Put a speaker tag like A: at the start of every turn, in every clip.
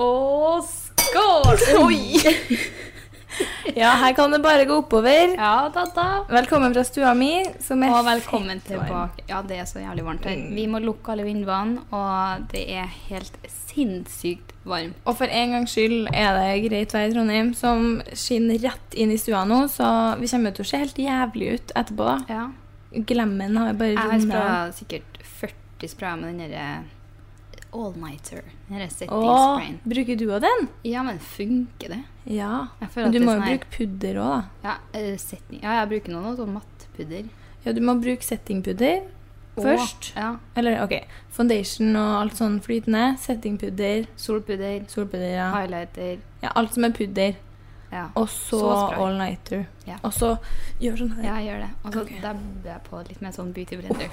A: Og skål!
B: Oi! ja, her kan det bare gå oppover.
A: Ja da, da.
B: Velkommen fra stua mi, som er
A: Og velkommen
B: fett varm.
A: tilbake. Ja, det er så jævlig varmt her. Vi må lukke alle vinduene, og det er helt sinnssykt varmt.
B: Og for en gangs skyld er det greit vær i Trondheim, som skinner rett inn i stua nå, så vi kommer til å se helt jævlig ut etterpå, da.
A: Ja.
B: Glemmen har bare
A: Jeg har
B: rundet.
A: spraya sikkert 40 sprayer med den derre all-nighter. Den derre
B: Åh,
A: setting-sprayen.
B: bruker du også den?
A: Ja, men funker det?
B: Ja.
A: Jeg
B: Men
A: føler at
B: du
A: det er
B: må jo
A: sånn her-
B: bruke pudder òg, da.
A: Ja, eh, setting. ja jeg bruker noe, noe sånn mattpudder.
B: Ja, du må bruke settingpudder
A: Og-
B: først.
A: Ja.
B: Eller OK, foundation og alt sånn flytende. Settingpudder,
A: Solpudder,
B: solpudder, ja.
A: highlighter.
B: ja. Alt som er pudder.
A: Ja.
B: Og så
A: Så spray.
B: all-nighter.
A: Ja.
B: Og så gjør sånn
A: ja,
B: her.
A: jeg gjør det. Og så
B: Ok.
A: dabber jeg på litt med sånn beauty blender.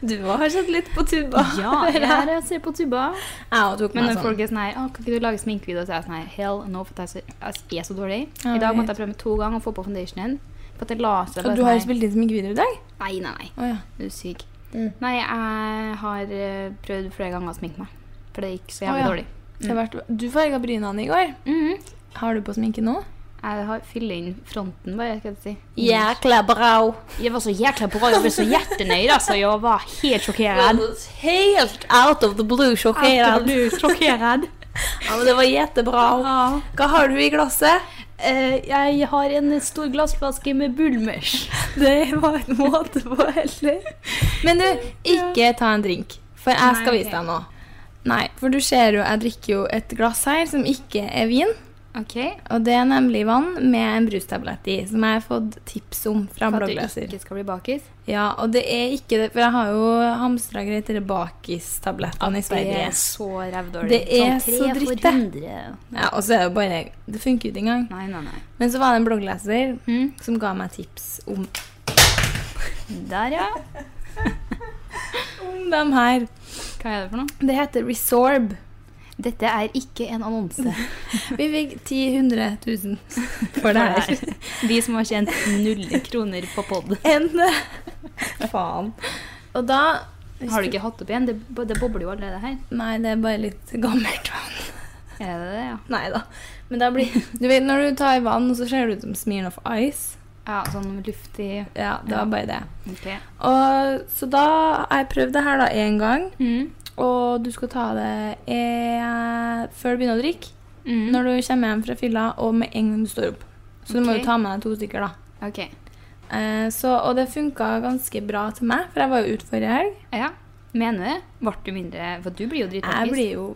B: Du har sett litt på tuba.
A: Ja, jeg er og ser på tuba.
B: Jeg tok
A: Men
B: meg
A: når
B: sånn.
A: folk er sånn her «Å, 'Kan ikke du lage sminkevideo?' Så er jeg sånn her Hell no, for at jeg er så- jeg er så dårlig.
B: Ja,
A: I dag
B: jeg
A: måtte jeg prøve med to ganger å få på foundationen. For at jeg la
B: Og
A: seg bare
B: du
A: sånn
B: har jo
A: her,
B: spilt inn sminkevideo i dag?
A: Nei, nei, nei.
B: Å ja.
A: Du er syk.
B: Mm.
A: Nei, jeg har eh, prøvd flere ganger å sminke meg. For det gikk så
B: Å,
A: jævlig
B: ja.
A: dårlig.
B: Det
A: Mm.
B: har vært... Du farga brynene i går.
A: Mhm.
B: Har du på sminke nå?
A: Jeg har fyller inn fronten, bare. skal jeg si.
B: Jækla brau.
A: Jeg var så jækla bra. Jeg ble så hjertenøyd, altså. Jeg var helt sjokkert.
B: Helt out of the blue sjokkerende.
A: Sjokkert.
B: Ja, men det var jättebra.
A: Ja.
B: Hva har du i glasset?
A: Eh, jeg har en stor glassflaske med Bulmers.
B: Det var en måte på heller. Men du, ikke ta en drink, for jeg skal
A: Nei,
B: vise
A: ok.
B: deg noe. Nei, for du ser jo, jeg drikker jo et glass her som ikke er vin,
A: OK.
B: og det er nemlig vann med en brustablett i, som jeg har fått tips om fra
A: For at du
B: bloggleser.
A: ikke skal bli bakis.
B: Ja, og det er ikke det, for jeg har jo hamstra greit disse bakistablettene i
A: Det
B: Sverige.
A: er så rævdårlig.
B: Det er
A: sånn
B: så
A: tre for
B: dritt, det.
A: 100.
B: Ja, og så er det jo bare Det funker jo ikke engang.
A: Nei, nei, nei.
B: Men så var det en bloggleser
A: Hm?
B: som ga meg tips om
A: Der, ja.
B: om dem her.
A: Hva er det for noe?
B: Det heter Resorb.
A: Dette er ikke en annonse.
B: Vi fikk 10 100 000 for det her.
A: De som har tjent null kroner på pod.
B: En Faen. Og da
A: Har du ikke hatt opp igjen? Det, bo- det bobler jo allerede her.
B: Nei, det er bare litt gammelt vann.
A: Er det det, ja?
B: Nei da. Men det blir Du vet når du tar i vann, så ser det ut som smearen of ice.
A: Ja, sånn luftig
B: Ja, det
A: Ja.
B: var bare det.
A: Ok.
B: Og, så da har jeg prøvd det her da én gang,
A: Mm.
B: og du skal ta det eh, før du begynner å drikke.
A: Mm.
B: Når du kommer hjem fra fylla, og med en gang du står opp. Så du må
A: Ok.
B: jo ta med deg to stykker, da.
A: Ok.
B: Eh, så, og det funka ganske bra til meg, for jeg var jo ute forrige helg.
A: Ja. Mener du det? Ble du mindre For du blir jo dritbakis.
B: Jeg blir jo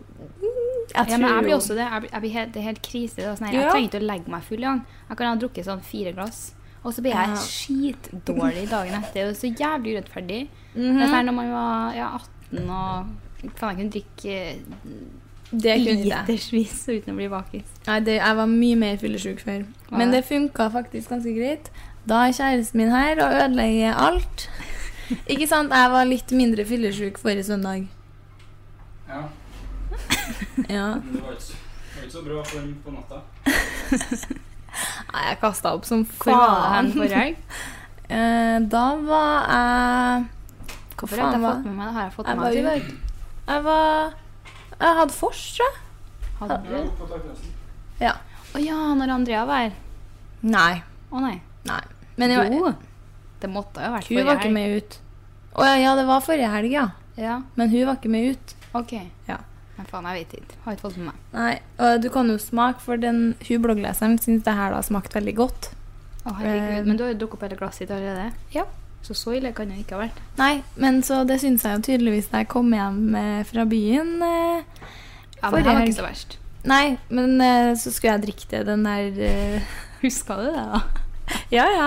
B: Jeg
A: ja, men jeg
B: tror
A: blir
B: jo-
A: også det. Jeg blir, jeg blir helt, det er helt krise. Det er sånn her,
B: Ja.
A: Jeg trenger ikke å legge meg full engang. Jeg kan ha drukket sånn fire glass. Og så blir jeg
B: Ja.
A: skitdårlig dagen etter. Det er jo så jævlig urettferdig.
B: Mhm.
A: Det er sånn her når man var ja, 18 og Faen, jeg kunne drikke eh,
B: Det kunne ikke jeg.
A: litersvis uten å bli bakis.
B: Nei, det, jeg var mye mer fyllesyk før.
A: Var
B: Men
A: det?
B: det funka faktisk ganske greit. Da er kjæresten min her og ødelegger alt. Ikke sant? Jeg var litt mindre fyllesyk forrige søndag.
C: Ja,
B: Ja.
C: men det var ikke, det var ikke så bra form på natta.
B: Nei, jeg kasta opp som
A: Hvor var det hen
B: faen.
A: forrige helg?
B: Eh, da var jeg Hva
A: Hvorfor har jeg
B: faen
A: ikke
B: var
A: fått med meg det? Har jeg fått
B: Jeg
A: med
B: var
A: meg det?
B: ute. Jeg var Jeg hadde vors, tror jeg.
A: Hadde
C: Jeg
A: du?
C: var oppe på takterrassen.
A: Å ja, når Andrea var her.
B: Nei.
A: Å nei.
B: Nei. Men jeg,
A: jo. Det måtte jo ha vært
B: hun var ikke med ut. Å ja, ja, det var forrige helg, ja.
A: Ja,
B: Men hun var ikke med ut.
A: ok.
B: Ja.
A: Men faen, jeg vet ikke. Har ikke fått med meg.
B: Nei, og du kan jo smake, for den, hun bloggleseren syns det her da smakte veldig godt.
A: Å, herregud.
B: Eh,
A: Men du har jo drukket opp hele glasset ditt allerede.
B: Ja.
A: Så så ille kan det ikke ha vært.
B: Nei, men så det syns jeg jo tydeligvis da jeg kom hjem eh, fra byen. eh.
A: Ja, men det
B: Forrige
A: var
B: helg.
A: ikke så verst.
B: Nei, men eh, så skulle jeg drikke det, den der eh,
A: Huska du det, da?
B: Ja ja,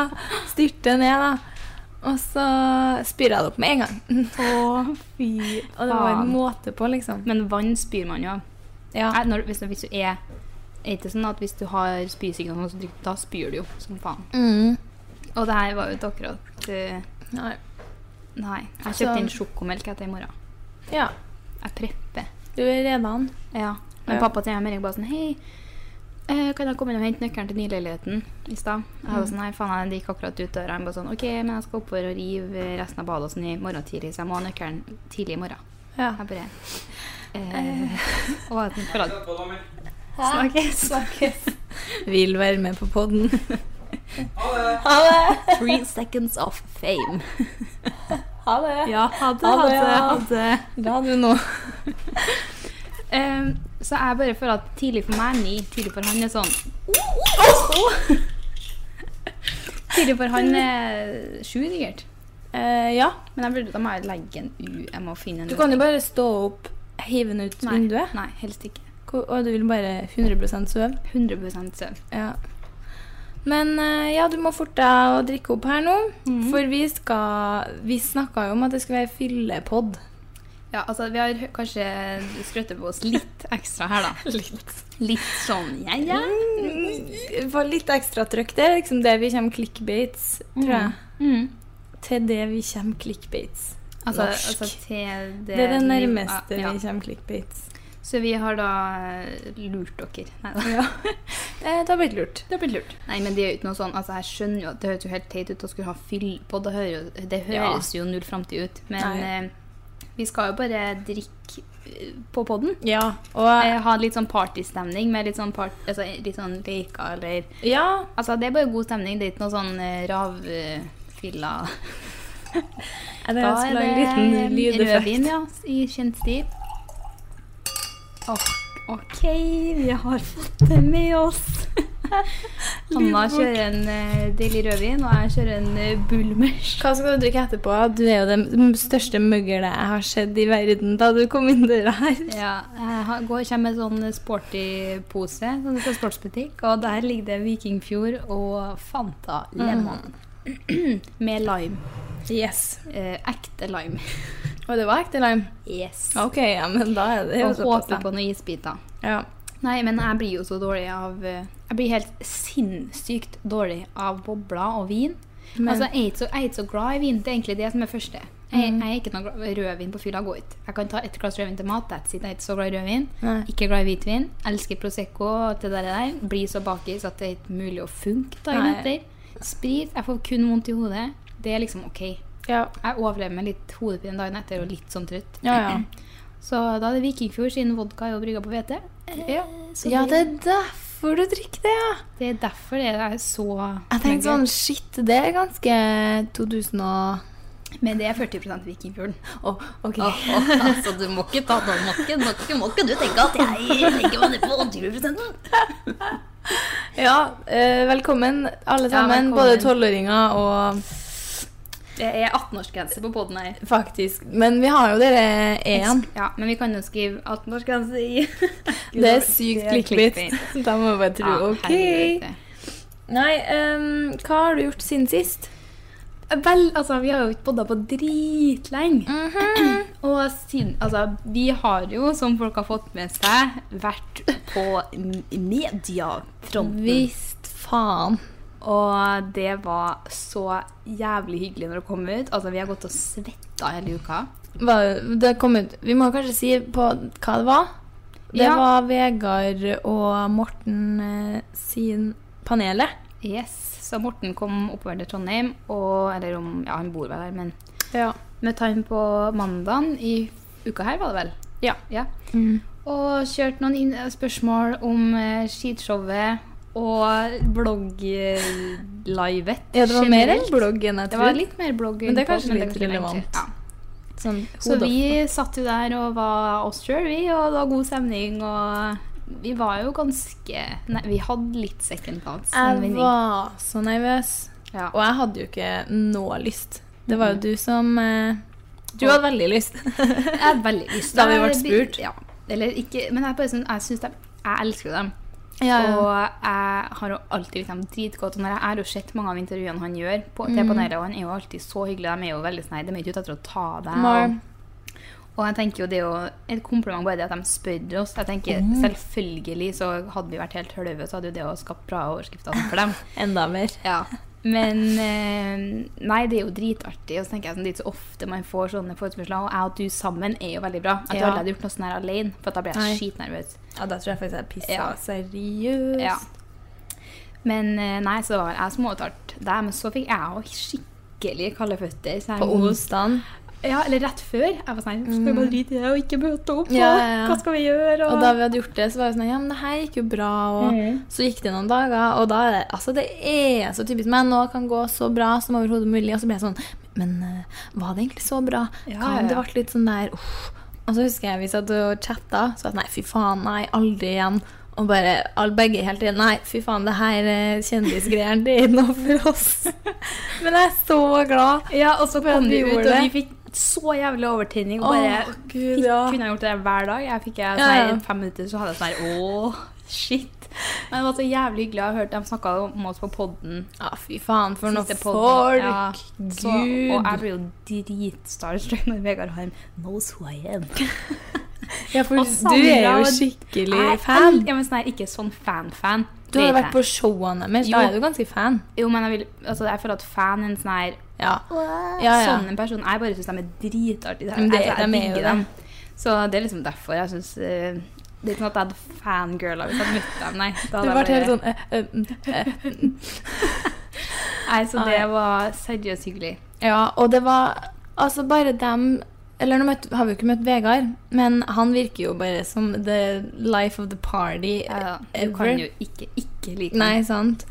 B: styrte ned, da. Og så spyra det opp med en gang.
A: Å, fy
B: Og det var en
A: faen.
B: måte på, liksom.
A: Men vann spyr man jo av.
B: Ja.
A: Nei, Når, hvis, hvis du er er ikke sånn at hvis du har spysignaler, så drikker- da spyr du jo som faen.
B: Mm.
A: Og det her var jo ikke akkurat eh,
B: Nei.
A: Nei. Jeg
B: Altså-
A: kjøpte inn sjokomelk etter i morgen.
B: Ja,
A: Jeg prepper.
B: du er redan.
A: Ja. Men
B: Ja.
A: pappa til meg bare sånn Hei, eh, kan jeg komme inn og hente nøkkelen til nyleiligheten i stad? Jeg var sånn Nei, faen, jeg gikk akkurat ut døra. Han bare sånn OK, men jeg skal oppover og rive resten av badet og sånn i morgen tidlig, så jeg må ha nøkkelen tidlig i morgen.
B: Ja.
A: Jeg bare eh, Og at den forlater
C: etterpå, da, men.
A: Snakkes.
B: Snakkes. Vil være med på podden.
C: Ha det!
B: Ha det!
A: Three seconds of fame.
B: Ha det!
A: Ja, hadde,
B: Ha det,
A: hadde,
B: ja.
A: hadde.
B: La du nå.
A: Ehm, så jeg bare føler at tidlig for meg er ni, tidlig for han er sånn Tidlig for han er sju, sikkert.
B: Eh, ja.
A: Men jeg burde, da må jeg legge en U. Jeg må finne en
B: Du kan jo bare stå opp, hive den ut
A: Nei.
B: vinduet.
A: Nei, helst ikke.
B: Hvor- Og du vil bare 100 sove.
A: 100 søvn.
B: Ja. Men eh, ja, du må forte deg å drikke opp her nå.
A: Mm.
B: For vi skal Vi snakka jo om at det skulle være fyllepod.
A: Ja, altså, vi har hø- kanskje skrøttet på oss litt ekstra her, da. Litt. Litt sånn ja, ja.
B: Mm, Få litt ekstra trøkk. Det er liksom det vi kommer clickbaits, tror jeg.
A: Mm.
B: Til det vi kommer clickbaits.
A: Altså,
B: Norsk.
A: altså til det
B: Det er det
A: niv-
B: nærmeste
A: ja.
B: vi kommer clickbaits.
A: Så vi har da eh, lurt dere. Nei da.
B: Eh, det har blitt lurt.
A: Det har blitt lurt. Nei, men det er jo ikke noe sånn, altså jeg skjønner jo at det høres jo helt teit ut å skulle ha fyll på, det, hører, jo- det
B: Ja.
A: høres jo null framtid ut, men
B: Nei.
A: eh, vi skal jo bare drikke eh, på podden.
B: Ja. Og
A: Eh, ha litt sånn partystemning med litt sånn, part, altså, litt sånn leker eller
B: ja.
A: Altså, det er bare god stemning, det er ikke noe sånn eh, ravfylla
B: Er det jeg skal lage en liten lydeffekt?
A: rødvin, ja, i kjent stil. Å, OK, vi har fått det med oss. Anna
B: Lydbok.
A: kjører en eh, deilig rødvin, og jeg kjører en uh, bulmers.
B: Hva skal du drikke etterpå? Du er jo det største møggelet jeg har sett i verden da du kom inn døra her.
A: Ja, jeg har- går, kommer med sånn sporty pose sånn fra sportsbutikk, og der ligger det Vikingfjord og Fanta Lemon.
B: Mm.
A: med lime.
B: Yes.
A: Eh, ekte lime.
B: Og det var ekte lime?
A: Yes.
B: Ok, ja, men da er det jo
A: Og
B: såpass,
A: håper
B: da.
A: på noen isbiter.
B: Ja.
A: Nei, men jeg blir jo så dårlig av eh, Jeg blir helt sinnssykt dårlig av bobler og vin.
B: Men-
A: altså, jeg er, ikke så, jeg er ikke så glad i vin. Det er egentlig det som er første. Jeg, jeg er ikke noe glad Rødvin på fylla går ikke. Jeg kan ta et glass rødvin til mat. That's it. Jeg er ikke så glad i rødvin.
B: Nei.
A: Ikke glad i hvitvin. Elsker Prosecco og alt det der. der. Blir så bakis at det er ikke mulig å funke dagen
B: Nei.
A: etter. Sprit. Jeg får kun vondt i hodet. Det er liksom OK.
B: Ja.
A: Jeg overlever med litt hodepine dagen etter og litt sånn trøtt.
B: Ja, ja.
A: Så da er det Vikingfjord siden vodka er jo brygga på hvete.
B: Ja.
A: så
B: ja, det
A: det-
B: er derfor du drikker det, ja.
A: Det er derfor det er så
B: Jeg tenkte sånn, shit, det er ganske 2000 og...
A: sånn, Men det er 40 Vikingfjorden.
B: Å, ok.
D: Oh,
A: altså, du må ikke ta den makken. Må ikke, må ikke du tenke at jeg legger meg ned på 20
B: Ja, eh, velkommen alle
A: Ja,
B: sammen,
A: velkommen.
B: både 12-åringer og
A: Det er 18-årsgrense på poden her.
B: faktisk. Men vi har jo dere en.
A: Ja, men vi kan jo skrive 18-årsgrense i
B: Det er sykt clickbait. Da må vi bare tro,
A: Ja,
B: ok.
A: herregud.
B: Nei, ehm, hva har du gjort siden sist?
A: Vel, altså, vi har jo ikke podda på dritlenge.
B: Mhm.
A: Og siden Altså, vi har jo, som folk har fått med seg, vært på m- mediafronten.
B: Visst faen.
A: Og det var så jævlig hyggelig når det kom ut. Altså, vi har gått og svetta hele uka.
B: Hva- Det kom ut Vi må kanskje si på hva det var? Det
A: Ja.
B: var Vegard og Morten eh, sin panelet.
A: Yes, Så Morten kom oppover til Trondheim, og, eller om Ja, han bor vel her, men
B: Ja.
A: møtte han på mandagen i uka her, var det vel?
B: Ja.
A: ja.
B: Mm.
A: Og kjørte noen inn eh, spørsmål om eh, skishowet og blogglivet.
B: ja, det var mer
A: generelt.
B: enn blogg enn jeg
A: Det var
B: trodde.
A: litt mer blogg.
B: Men det er
A: innpå,
B: kanskje litt
A: egentlig-
B: relevant.
A: Ja.
B: Sånn,
A: Så vi satt jo der og var oss sjøl, vi, og det var god stemning. Og vi var jo ganske Nei, vi hadde litt second thoughts. men vi-
B: Jeg var så nervøs.
A: ja.
B: Og jeg hadde jo ikke noe lyst. Det var jo du som eh, Du hadde veldig lyst.
A: Jeg hadde veldig lyst.
B: Da vi ble
A: Jeg-
B: spurt.
A: Ja. Eller ikke Men jeg, er bare sånn, jeg syns dem Jeg elsker jo dem.
B: Og,
A: Og jeg har jo alltid likt dem dritgodt. Og når jeg jeg har jo sett mange av intervjuene han gjør på
B: Mm.
A: til panelet, og han er jo alltid så hyggelig. De er jo veldig sånn, nei, de er ikke ute etter å ta deg.
B: Mar-
A: og- Og jeg tenker jo det er jo et kompliment bare det at de spør oss. Jeg tenker
B: Mm.
A: Selvfølgelig så hadde vi vært helt hølve, så hadde jo det å skapt bra overskrifter for dem.
B: enda mer.
A: Ja. Men eh, Nei, det er jo dritartig. Og så tenker jeg sånn, Det er ikke så ofte man får sånne forespørsler. Og jeg og du sammen er jo veldig bra. Jeg tror
B: Ja.
A: aldri jeg hadde gjort noe sånn her alene, for da blir jeg
B: Nei.
A: skitnervøs.
B: Ja, da tror jeg faktisk jeg pissa
A: Ja.
B: seriøst.
A: Ja. Men eh, nei, så det var vel jeg som overtalte deg. Men så fikk jeg òg skikkelig kalde føtter. så jeg
B: På
A: må-
B: onsdagen.
A: Ja, eller rett før. Jeg var sånn Skal vi bare drite i det og ikke møte opp?
B: Mm. Ja,
A: og
B: ja, ja.
A: Hva skal vi gjøre?
B: Og da vi hadde gjort det, så var det sånn Ja, men det her gikk jo bra. Og
A: Mhm.
B: så gikk det noen dager, og da er det Altså, det er så typisk meg. Nå kan gå så bra som overhodet mulig. Og så ble jeg sånn Men eh, var det egentlig så bra?
A: Ja,
B: kan
A: ja, ja.
B: det vært litt sånn der uff. Og så husker jeg vi satt og chatta, så var jeg sånn Nei, fy faen, nei, aldri igjen. Og bare all, begge helt igjen. Nei, fy faen, det her eh, kjendisgreiene, det er ikke noe for oss. men jeg er så glad.
A: ja, og så
B: Men
A: kom
B: vi
A: vi ut,
B: gjorde
A: og vi
B: det.
A: fikk så jævlig overtenning. Og bare
B: Å, Gud,
A: fikk,
B: ja.
A: kunne jeg gjort det hver dag. Jeg fikk jeg,
B: Ja,
A: sånn,
B: ja.
A: her, fem minutter, så hadde jeg sånn her Åh, shit. Men jeg var så jævlig hyggelig. Jeg har hørt dem snakke om oss på podden.
B: Ja, fy faen, for noe
A: Siste podden.
B: folk.
A: Ja.
B: Gud.
A: Så, og jeg blir jo dritstarstruck når Vegard Harm knows who I am.
B: Ja, for
A: Og
B: du er
A: Sandra
B: jo
A: og-
B: skikkelig
A: Jeg
B: fan.
A: el- Ja, men sånn her, ikke sånn fan-fan.
B: Du har
A: Det
B: jo
A: er
B: vært på showene deres. Da
A: Jo.
B: er du ganske fan.
A: jeg. Jo, men jeg, vil, altså, jeg føler at fan er en sånn her
B: Ja. Ja, ja.
A: Sånn en person. Jeg bare syns de er dritartige.
B: Men det-
A: Jeg- jeg
B: de er jo
A: digger
B: det.
A: dem. Så det er liksom derfor jeg syns Det er ikke sånn at jeg hadde fangirla hvis jeg hadde møtt dem. Nei, da
B: Du
A: hadde
B: ble
A: jeg
B: helt
A: bare-
B: sånn eh, eh, eh.
A: Nei, så
B: Nei.
A: det var seriøst hyggelig.
B: Ja, og det var altså bare dem Eller nå møtte, har vi jo ikke møtt Vegard, men han virker jo bare som the life of the party.
A: Ja, du
B: ever.
A: kan jo ikke ikke like
B: Nei, sant.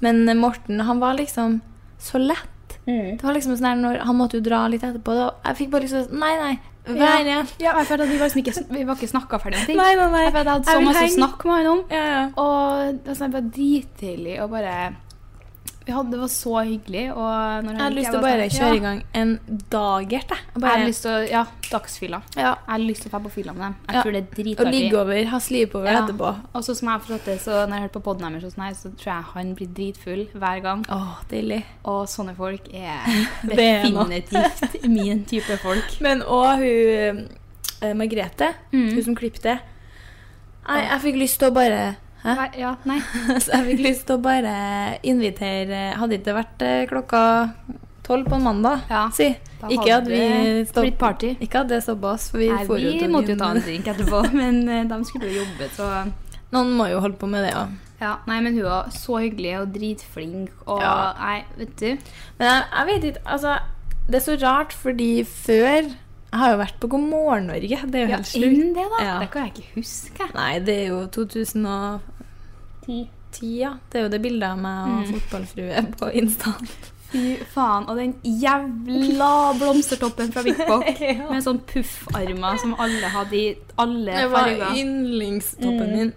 B: Men eh, Morten, han var liksom så lett.
A: Mm.
B: Det var liksom sånn her når Han måtte jo dra litt etterpå. Da, jeg fikk bare liksom Nei, nei. Vær igjen.
A: Ja, jeg følte at vi var liksom ikke, vi var ikke snakka ferdig om ting.
B: Nei, nei, nei.
A: Jeg følte at jeg hadde
B: Jeg
A: så
B: vil
A: masse å
B: henge.
A: snakke med han om.
B: Ja, ja.
A: Og det var sånn, det var dritdeilig og bare vi hadde, Det var så hyggelig. Og når
B: Jeg hadde lyst til å
A: var
B: bare
A: sånn,
B: kjøre i
A: ja,
B: gang en dagert, jeg. Og
A: Jeg hadde
B: bare
A: lyst til å, ja, dagsfylla.
B: ja,
A: Jeg hadde lyst til å dra på fylla med dem. Jeg
B: Ja,
A: tror det er
B: og
A: dritartig.
B: ligge over, ha slipeover
A: Ja.
B: etterpå.
A: Og så som jeg har forstått det, så når jeg hørte på podden deres, og sånn her, så tror jeg han blir dritfull hver gang.
B: Å, deilig.
A: Og sånne folk er
B: Det er noe.
A: definitivt min type folk.
B: Men òg hun eh, Margrethe,
A: Mm.
B: hun som klippet det. Nei, jeg fikk lyst til å bare Hæ?
A: Mm. Nei, Ja, nei.
B: Så jeg fikk lyst til å bare invitere Hadde ikke det vært eh, klokka tolv på en mandag,
A: Ja,
B: si.
A: da
B: Ikke at
A: hadde
B: vi
A: det
B: stopp-
A: blitt party.
B: Ikke at det stoppa oss, for vi
A: Nei,
B: får jo
A: vi
B: til
A: måtte jo
B: byen,
A: ta en
B: men
A: drink etterpå, men eh, de skulle jo jobbe, så
B: Noen må jo holde på med det òg.
A: Ja, nei, men hun var så hyggelig og dritflink og
B: Ja.
A: Nei, vet du.
B: Men jeg, jeg vet ikke, altså Det er så rart, fordi før Jeg har jo vært på God morgen Norge. Det er jo
A: Ja,
B: helt sjukt.
A: enn det, da.
B: Ja.
A: Det kan jeg ikke huske.
B: Nei, det er jo 2010, ja. Det er jo det bildet av meg og
A: Mm.
B: fotballfrue på Insta.
A: Fy faen. Og den jævla blomstertoppen fra Vikbok
B: Ja.
A: med sånn puffarmer som alle hadde i alle
B: Det var
A: farger.
B: yndlingstoppen min.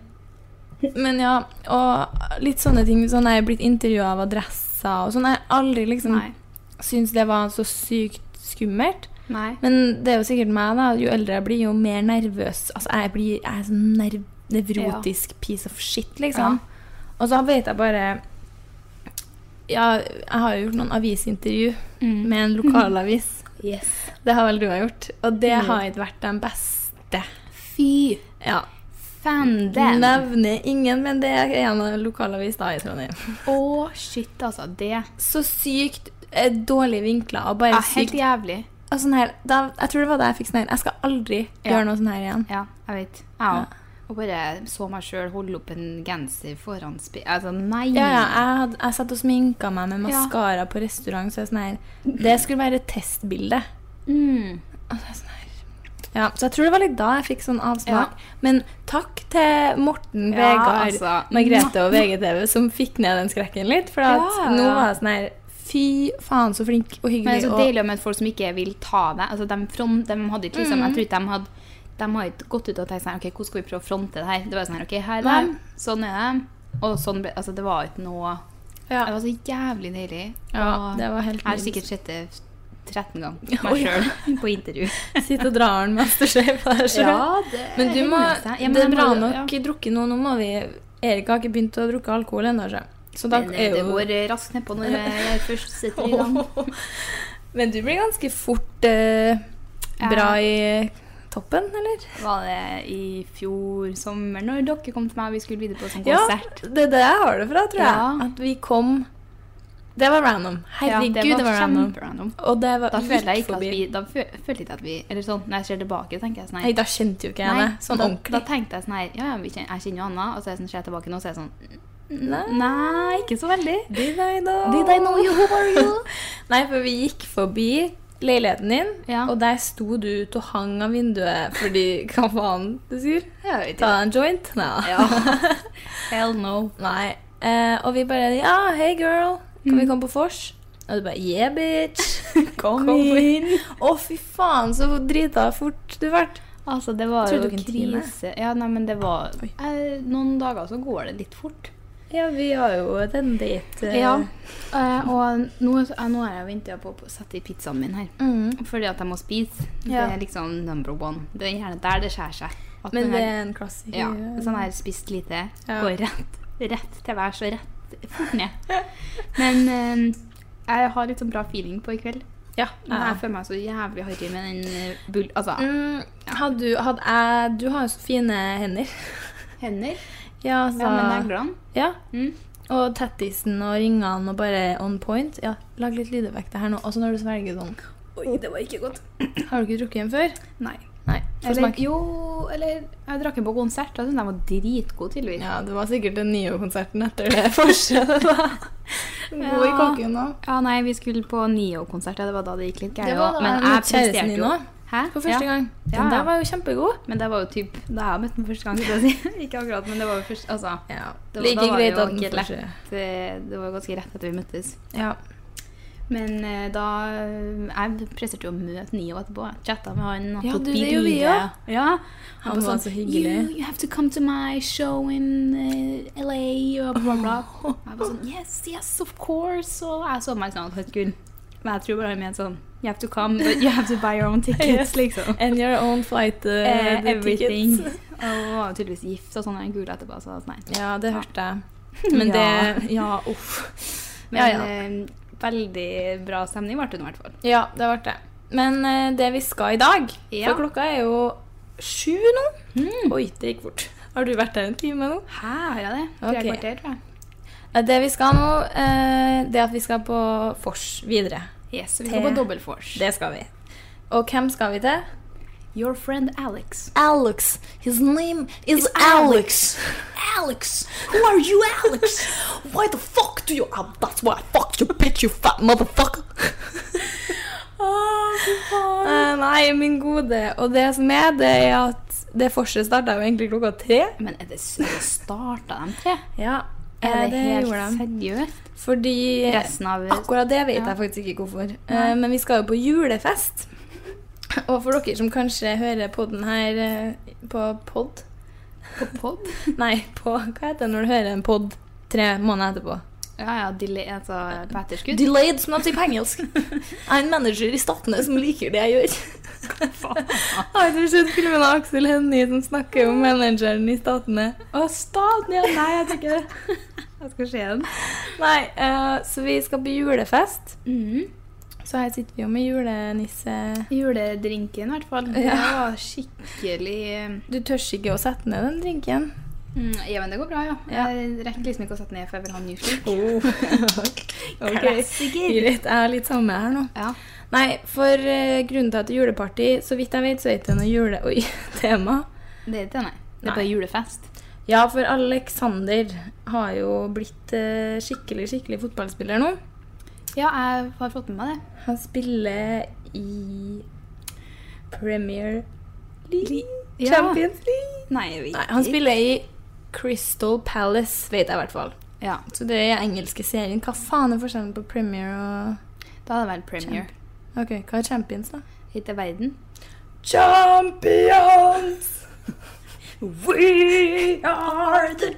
B: Men ja, og litt sånne ting. Sånn er jeg blitt intervjua av adresser og sånn. Jeg har aldri liksom
A: Nei.
B: syntes det var så sykt skummelt.
A: Nei.
B: Men det er jo sikkert meg, da. Jo eldre jeg blir, jo mer nervøs. Altså, jeg blir jeg er sånn nerv nevrotisk piece of shit, liksom. Og så vet jeg bare Ja, jeg har jo gjort noen avisintervju
A: Mm.
B: med en lokalavis.
A: Yes.
B: Det har vel du har gjort. Og det
A: Mm.
B: har ikke vært den beste.
A: Fy
B: Ja.
A: fanden. Å,
B: Nevner ingen, men det er en lokalavis da i Trondheim.
A: shit, altså. Det er
B: Så sykt eh, dårlig vinkla og bare
A: helt
B: sykt
A: jævlig.
B: og sånn her, da, Jeg tror det var da jeg fikk sånn her Jeg skal aldri
A: Ja.
B: gjøre noe sånn her igjen.
A: Ja, jeg vet. Jeg òg. Og bare så meg sjøl holde opp en genser foran spi... Altså, nei.
B: Ja, ja, jeg, hadde, jeg satt og sminka meg med
A: Ja.
B: maskara på restaurant. Så jeg sånn her, Det skulle være et testbilde.
A: Mm.
B: Og så er jeg sånn her. Ja, så jeg tror det var litt da jeg fikk sånn avsmak. Men takk til Morten,
A: Ja,
B: Vegard,
A: altså.
B: Margrethe og VGTV som fikk ned den skrekken litt. For at
A: Ja, ja.
B: nå var jeg sånn her Fy faen, så flink og
A: Men det
B: hyggelig.
A: er så
B: og-
A: deilig å møte folk som ikke vil ta deg. Altså, de, front, de hadde ikke liksom,
B: Mm.
A: Jeg tror ikke de hadde de har ikke gått ut og tenkt sånn, ok, hvordan skal vi prøve å fronte det her. Det var sånn her, ok, her er
B: Nei.
A: dem, sånn er dem. Og sånn ble, altså, det var ikke noe Det
B: ja.
A: var så jævlig deilig.
B: ja,
A: Og
B: det var helt
A: jeg har
B: nydelig.
A: sikkert sett det 13 ganger,
B: Oi.
A: meg sjøl, på intervju.
D: Hm.
B: Sitte og dra den Masterchef her sjøl.
A: det
B: Men du må,
A: ja, men
B: det er
A: jeg må
B: bra
A: jo-
B: nok drukket nå. Nå må vi Erik har ikke begynt å drukke alkohol ennå, sjø. så da
A: Men, eh,
B: er
A: Det
B: jo
A: går eh, raskt nedpå når jeg først sitter i gang.
B: Men du blir ganske fort eh, bra i toppen, eller?
A: Var det i fjor sommer når dere kom til meg og vi skulle videre på sånn
B: Ja,
A: konsert?
B: Det er det jeg har det fra, tror jeg.
A: Ja.
B: At vi kom Det var random. Herregud, det var, random.
A: kjemperandom.
B: Og det var
A: Da følte jeg
B: litt
A: ikke at
B: forbi.
A: vi Da fø- følte jeg ikke at vi Eller sånn, når jeg ser tilbake, tenker jeg sånn
B: Nei, da kjente jo ikke jeg
A: nei,
B: det sånn
A: da, Da
B: ordentlig.
A: tenkte jeg sånn her Ja, ja, vi kjen- jeg kjenner jo Anna, og så er jeg sånn, ser jeg tilbake nå, så er jeg sånn
B: Nei.
A: Nei, ikke så veldig.
B: Did I know?
A: Did I know you? Who are you?
B: Nei, for vi gikk forbi leiligheten din,
A: Ja.
B: og der sto du ute og hang av vinduet fordi Hva faen du sier?
A: Jeg vet
B: Ta deg en joint? Nei.
A: Ja. Hell no.
B: Nei. Eh, og vi bare Ja, hey girl, kan
A: Mm.
B: vi komme på vors? Og du bare Yeah, bitch.
A: Kom
B: Å, fy faen, så drita fort du ble.
A: Altså, det var
B: Tror du
A: jo
B: ikke en time?
A: krise. Ja, nei, men det var
B: Oi.
A: eh, Noen dager så går det litt fort.
B: Ja, vi har jo et en date. eh.
A: Ja. Eh, og nå, ja, nå er jeg venta på å sette i pizzaen min her.
B: Mm.
A: Fordi at jeg må spise.
B: Ja.
A: Det er liksom number one. Det er gjerne der det skjærer seg. At
B: Men
A: den
B: det
A: her-
B: er en klassiker.
A: Ja, sånn her spist lite,
B: Ja.
A: går rett, rett til værs og rett fort ned. Men eh, jeg har litt sånn bra feeling på i kveld.
B: Ja.
A: Men jeg føler meg så jævlig harry med den eh, bull... Altså,
B: Mm, hadde du, hadde jeg, du har jo så fine hender.
A: hender.
B: Mm. Ja,
A: Ja, med neglene.
B: ja.
A: Mm.
B: Og tettisen og ringene og bare on point. Ja, Lag litt lydeffekter her nå. Og så når du svelger sånn
A: Oi, det var ikke godt.
B: Har du ikke drukket den før?
A: Nei.
B: Nei. Få
A: Eller,
B: smake.
A: jo, eller jeg drakk den på konsert. Jeg syntes den var dritgod, tydeligvis.
B: Ja, det var sikkert den nye konserten etter det forskjellet, da. God i
A: Ja.
B: kokken nå.
A: Ja, nei, vi skulle på Nio-konsert. Ja, det var da det gikk litt
B: Det
A: gærent.
B: var da
A: også,
B: jeg
A: Men jeg
B: møtte kjæresten
A: presterte
B: din
A: jo.
B: også.
A: Hæ?
B: For første
A: ja.
B: gang. Den
A: Ja.
B: der var jo kjempegod.
A: Men det var jo typ da jeg møtte den første gang. skulle jeg Si. ikke akkurat, men det var jo først Altså.
B: Ja.
A: Det var- da
B: like
A: var det
B: greit
A: jo
B: at den
A: ikke lett.
B: første-
A: Det, det var ganske rett etter vi møttes.
B: Ja.
A: Men eh, da Jeg presterte jo å møte Nio etterpå. Jeg Chatta med han. og
B: Ja,
A: tok
B: du, det gjorde vi
A: bilder.
B: også.
A: Ja.
B: Han
A: bare
B: var så hyggelig.
A: You, you have to come to my show in eh, LA og bla, bla. Og Jeg var sånn Yes, yes, of course. Og jeg så meg sånn at han skulle Men jeg tror bare han mente sånn You have to come, but you have to buy your own tickets, liksom.
B: And your own flight uh,
A: Eh,
B: the
A: everything.
B: tickets.
A: Og hun var jo tydeligvis gift og sånn, og gul etterpå, så nei.
B: Ja, det hørte jeg. Men
A: Ja.
B: det Ja, uff.
A: Men
B: Ja, ja.
A: eh, veldig bra stemning ble det nå, i hvert fall.
B: Ja, det ble det. Men eh, det vi skal i dag
A: Ja.
B: For klokka er jo sju nå. Oi, det gikk fort. Har du vært der en time nå?
A: Hæ, Hmm. har jeg det? Tre
B: Ok.
A: kvarter, tror jeg.
B: Eh, Det vi skal nå, eh, det er at vi skal på vors videre.
A: Yes, så vi
B: Te.
A: går på double force.
B: Det skal vi. Og hvem skal vi til?
A: Your friend Alex.
B: Alex. His name is
D: Alex. Alex, who are you, Alex? Why the fuck do you? Um, that's why I fucked you, bitch, you fat motherfucker.
B: Eh, nei, min gode. Og det som er, det er at det vorset starta jo egentlig klokka tre.
A: Men er det starta de tre?
B: Ja,
A: Er det, helt
B: gjorde Ah. de.
A: seriøst?
B: Fordi
A: Resten av
B: Eh, Akkurat det vet
A: Ja.
B: jeg faktisk ikke hvorfor. Eh, men vi skal jo på julefest. Og for dere som kanskje hører podden her eh, på pod
A: på pod?
B: Nei, på hva heter det når du hører en pod tre måneder etterpå?
A: Ja, ja, delay, altså på etterskudd.
D: Delayed, som de sier på engelsk. Jeg er en manager i Statene som liker det jeg gjør.
B: Har du sett filmen av Aksel Hennie som snakker om manageren i Statene? Å, Staten, ja! Nei, jeg tror ikke det.
A: Hva skal skje den?
B: Nei, eh, så vi skal på julefest.
A: Mm-hmm.
B: Så her sitter vi jo med julenisse
A: Juledrinken, i hvert fall. Det var skikkelig
B: Du tør ikke å sette ned den drinken.
A: mm, Ja, men det går bra, ja.
B: Ja.
A: Jeg rekker liksom ikke å sette ned før jeg vil ha en ny slurk.
B: Ok.
A: Klassiker.
B: Greit, jeg er litt samme her nå.
A: Ja.
B: Nei, for eh, grunnen til at det er juleparty, så vidt jeg vet, så er det ikke noe jule... Oi, tema.
A: Det er ikke det, nei. Det er
B: Nei.
A: bare julefest.
B: Ja, for Alexander har jo blitt eh, skikkelig, skikkelig fotballspiller nå.
A: Ja, jeg har fått med meg det.
B: Han spiller i Premier League.
A: Ja.
B: Champions League.
A: Nei, jeg vet
B: Nei, han spiller i Crystal Palace, vet jeg i hvert fall.
A: Ja,
B: Så det er engelske serien. Hva faen er forskjellen på Premier og
A: da er det vel premier.
B: Ok, hva er Champions, da?
A: Hit til verden.
B: Champions!
D: We are the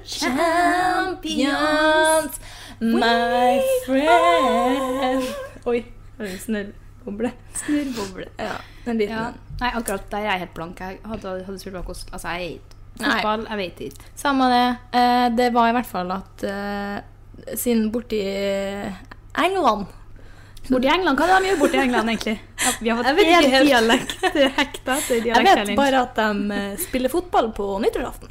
B: Champions, my friend. Oi, det er en snørrboble.
A: Snurrboble.
B: Ja, en liten
A: Ja.
B: en.
A: Nei, akkurat der er jeg helt blank. Jeg hadde, hadde spurt meg hvordan Altså, jeg er ikke
B: Nei.
A: fotball, jeg vet ikke.
B: Samme det. Eh, det var i hvert fall at eh, siden borti England
A: Borti England, hva er det de gjør borti England, egentlig? Ja, Vi har
B: Jeg
A: fått
B: vet ikke
A: helt
B: helt.
A: dialekt hekta
B: Jeg
A: til
B: vet
A: dialektchallenge.
B: bare at de eh, spiller fotball på nyttårsaften.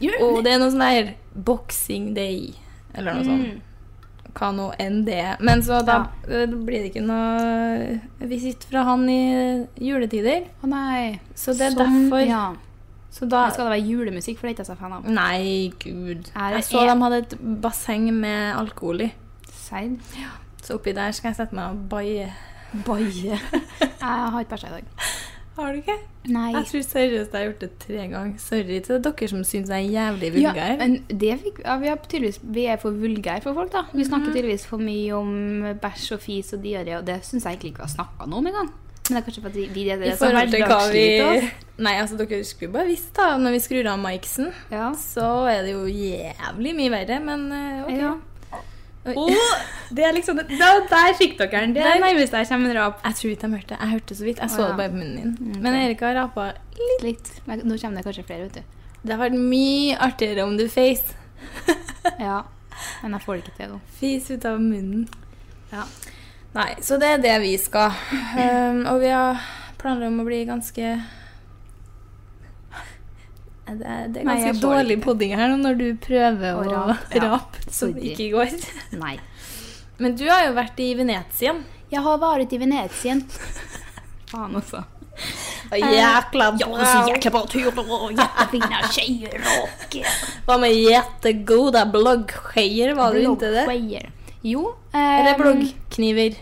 A: Gjør
B: Og
A: det.
B: det er noe sånn der Boxing Day eller noe sånt.
A: Mm.
B: Hva nå enn det er. Men så da eh, blir det ikke noe visitt fra han i juletider.
A: Å nei.
B: Så det er
A: Sånn,
B: derfor.
A: Ja.
B: Så da
A: Da skal det være julemusikk, for det er ikke jeg så fan av.
B: Nei, gud.
A: Her
B: Jeg så
A: er-
B: de hadde et basseng med alkohol i.
A: Sein.
B: Så oppi der skal jeg sette meg og baie.
A: Baie. Jeg har ikke bæsja i dag.
B: Har du ikke?
A: Nei.
B: Jeg tror seriøst jeg har gjort det tre ganger. Sorry til dere som syns jeg er jævlig vulgær.
A: Ja, men det fikk, ja, vi, er tydeligvis, vi er for vulgære for folk, da. Vi snakker tydeligvis for mye om bæsj og fis og diaré, og det syns jeg egentlig ikke vi har snakka noe om engang. Men det er kanskje fordi vi er det
B: I
A: som er
B: forhold til hva vi
A: hverdagslivet til oss.
B: Nei, altså, dere skulle bare visst, da. Når vi skrur av miksen,
A: Ja.
B: så er det jo jævlig mye verre, men eh, OK.
A: ja.
B: Oi.
A: det er liksom der, fikk dere den. Det
B: Der-
A: er nærmest jeg kommer rap.
B: Jeg tror ikke de hørte det. Jeg hørte så vidt. Jeg så
A: Å, ja.
B: det bare på munnen din.
A: Mm,
B: Men
A: ok.
B: Erika har rapa
A: Litt. Men nå kommer det kanskje flere, vet du.
B: Det har vært mye artigere om du face.
A: Ja. Men jeg får det ikke til nå.
B: Fis ut av munnen.
A: Ja.
B: Nei, så det er det vi skal. Um, og vi har planer om å bli ganske Det er, det er
A: Nei,
B: ganske
A: jeg får
B: dårlig
A: ikke det.
B: podding her nå når du prøver å,
A: Å
B: rape,
A: rape, ja.
B: som
A: Sorry.
B: ikke går.
A: Nei.
B: Men du har jo vært i Venezia.
A: Jeg har vært i Venezia. Faen altså. også.
B: Jækla
D: Eh, Ja, og så jækla bra turer og jækla
A: Fine skeier og
D: Ah,
B: Hva med jettegode bloggskeier, var du inntil det?
A: Bloggskeier. Jo.
B: Eller
A: ehm,
B: bloggkniver.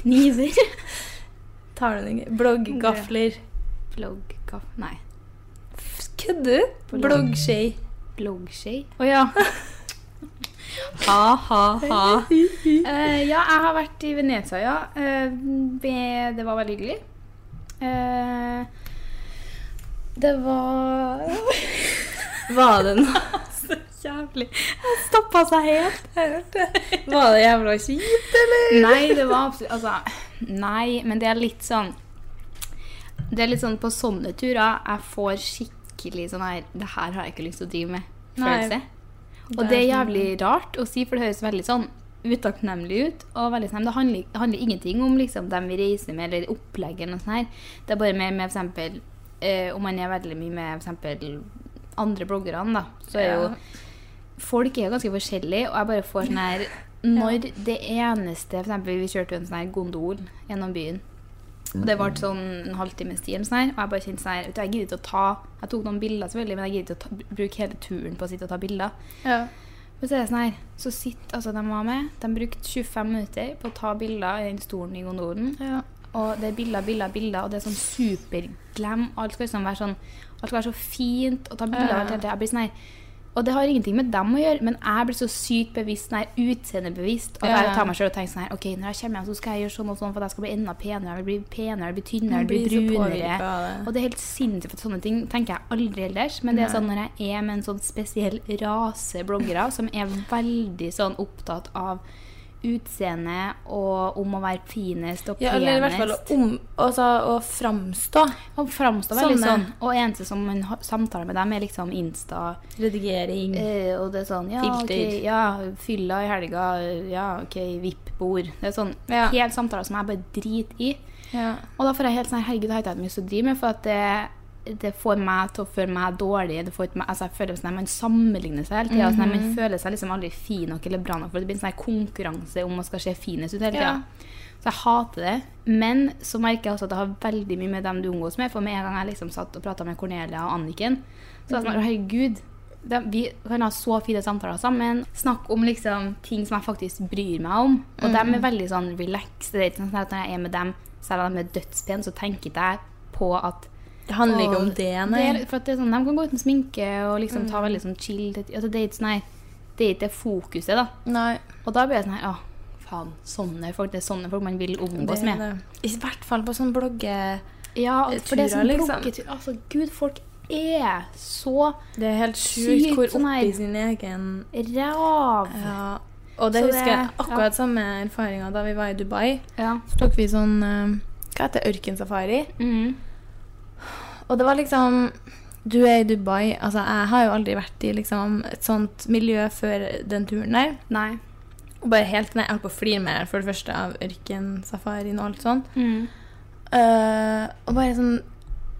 A: Kniver.
B: Tar du den ikke? Blogggafler.
A: Bloggkaff... Nei.
B: Kødder du?
A: Blogg.
B: Bloggskei.
A: Bloggskei. Å ja. Ha, ha, ha. Eh, ja, jeg har vært i Venezia, ja. Eh, det- det var veldig hyggelig. Eh, det var
B: Var det noe
A: Så jævlig. Jeg stoppa seg helt.
B: Var det jævla kjipt, eller?
A: Nei, det var absolutt Altså, nei, men det er litt sånn Det er litt sånn på sånne turer jeg får skikkelig sånn her Det her har jeg ikke lyst til å drive med.
B: Nei.
A: Følelse. Og det er jævlig rart å si, for det høres veldig sånn utakknemlig ut. og veldig sånn, Det handler, det handler ingenting om liksom, dem vi reiser med, eller opplegget. eller noe sånt her. Det er bare mer med for eksempel, eh, Om man er veldig mye med for eksempel, andre bloggere, da, så er jo
B: Ja.
A: Folk er jo ganske forskjellige, og jeg bare får sånn her Når det eneste for eksempel, Vi kjørte jo en sånn her gondol gjennom byen. Og Det ble sånn en halvtimes tid, eller sånn her, og jeg bare kjente sånn her, vet du, jeg gidder ikke å ta Jeg tok noen bilder, selvfølgelig, men jeg gidder ikke å ta, bruke hele turen på å sitte og ta bilder.
B: Ja.
A: Men så er det sånn her, så sitter altså de var med, de brukte 25 minutter på å ta bilder i den stolen i gondolen.
B: Ja.
A: Og det er bilder, bilder, bilder, og det er sånn superglem. Alt skal liksom være sånn, alt skal være så fint, og ta bilder av alt hele tiden. Jeg blir sånn her, og det har ingenting med dem å gjøre, men jeg blir så sykt bevisst, sånn her utseendebevisst, at
B: Ja.
A: jeg tar meg selv og tenker sånn her, ok, når jeg kommer hjem så skal jeg gjøre sånn og sånn, for at jeg skal bli enda penere, jeg vil bli penere, jeg vil bli tynnere, jeg vil bli brunere. Og det er helt sinnssykt, for sånne ting tenker jeg aldri ellers. Men det er sånn når jeg er med en sånn spesiell rase bloggere som er veldig sånn opptatt av utseende og om å være finest og
B: Ja, eller i hvert fall
A: penest.
B: om, altså, å framstå.
A: Og framstå veldig
B: Sånne.
A: sånn. Og eneste som man har- samtaler med dem, er liksom Insta.
B: Redigering.
A: Eh, og det er sånn ja,
B: Mm. Filter.
A: ok, ja, fylla i helga. Ja, OK, VIP-bord. Det er sånn
B: Ja.
A: helt samtaler som jeg bare driter i.
B: Ja.
A: Og da får jeg helt sånn Herregud, det har ikke jeg mye å drive med, for at det, det får meg til å føle meg dårlig. Det får ikke meg, altså jeg føler sånn at Man sammenligner seg hele tida. sånn at man føler seg liksom aldri fin nok eller bra nok. For det blir en sånn her konkurranse om man skal se finest ut hele tida.
B: Ja.
A: Så jeg hater det. Men så merker jeg også at det har veldig mye med dem du omgås med. For med en gang jeg liksom satt og prata med Cornelia og Anniken, så var jeg
B: Mm.
A: sånn Herregud. De, vi kan ha så fine samtaler sammen. Snakke om liksom ting som jeg faktisk bryr meg om. Og
B: Mm.
A: de er veldig sånn relaxed. Det er ikke sånn at når jeg er med dem, selv om de er dødspene, så tenker ikke jeg på at
B: Det handler ikke om
A: Åh,
B: det,
A: det
B: nei.
A: er, for at det er sånn, De kan gå uten sminke og liksom ta veldig sånn chill. Det, altså, det er ikke sånn her Det er ikke det fokuset, da.
B: Nei.
A: Og da blir jeg sånn her Å, faen. Sånne folk. Det er sånne folk man vil omgås med.
B: I hvert fall på sånn blogge...
A: Ja, og for det er
B: Turer,
A: sånn
B: liksom.
A: bloggetur Altså, gud, folk er så
B: Det er helt
A: Sykt
B: sjukt hvor
A: sånn her-
B: oppi sin egen
A: rav.
B: Ja. Og det
A: Så det-
B: husker jeg akkurat
A: ja.
B: samme erfaringa da vi var i Dubai.
A: Ja.
B: Så tok vi sånn eh, Hva heter det? Ørkensafari.
A: Mm.
B: Og det var liksom Du er i Dubai. Altså, jeg har jo aldri vært i liksom, et sånt miljø før den turen der.
A: Nei.
B: Og bare helt nei, Jeg holdt på å flire med deg for det første av ørkensafarien og alt sånn.
A: Mm.
B: Eh, og bare sånn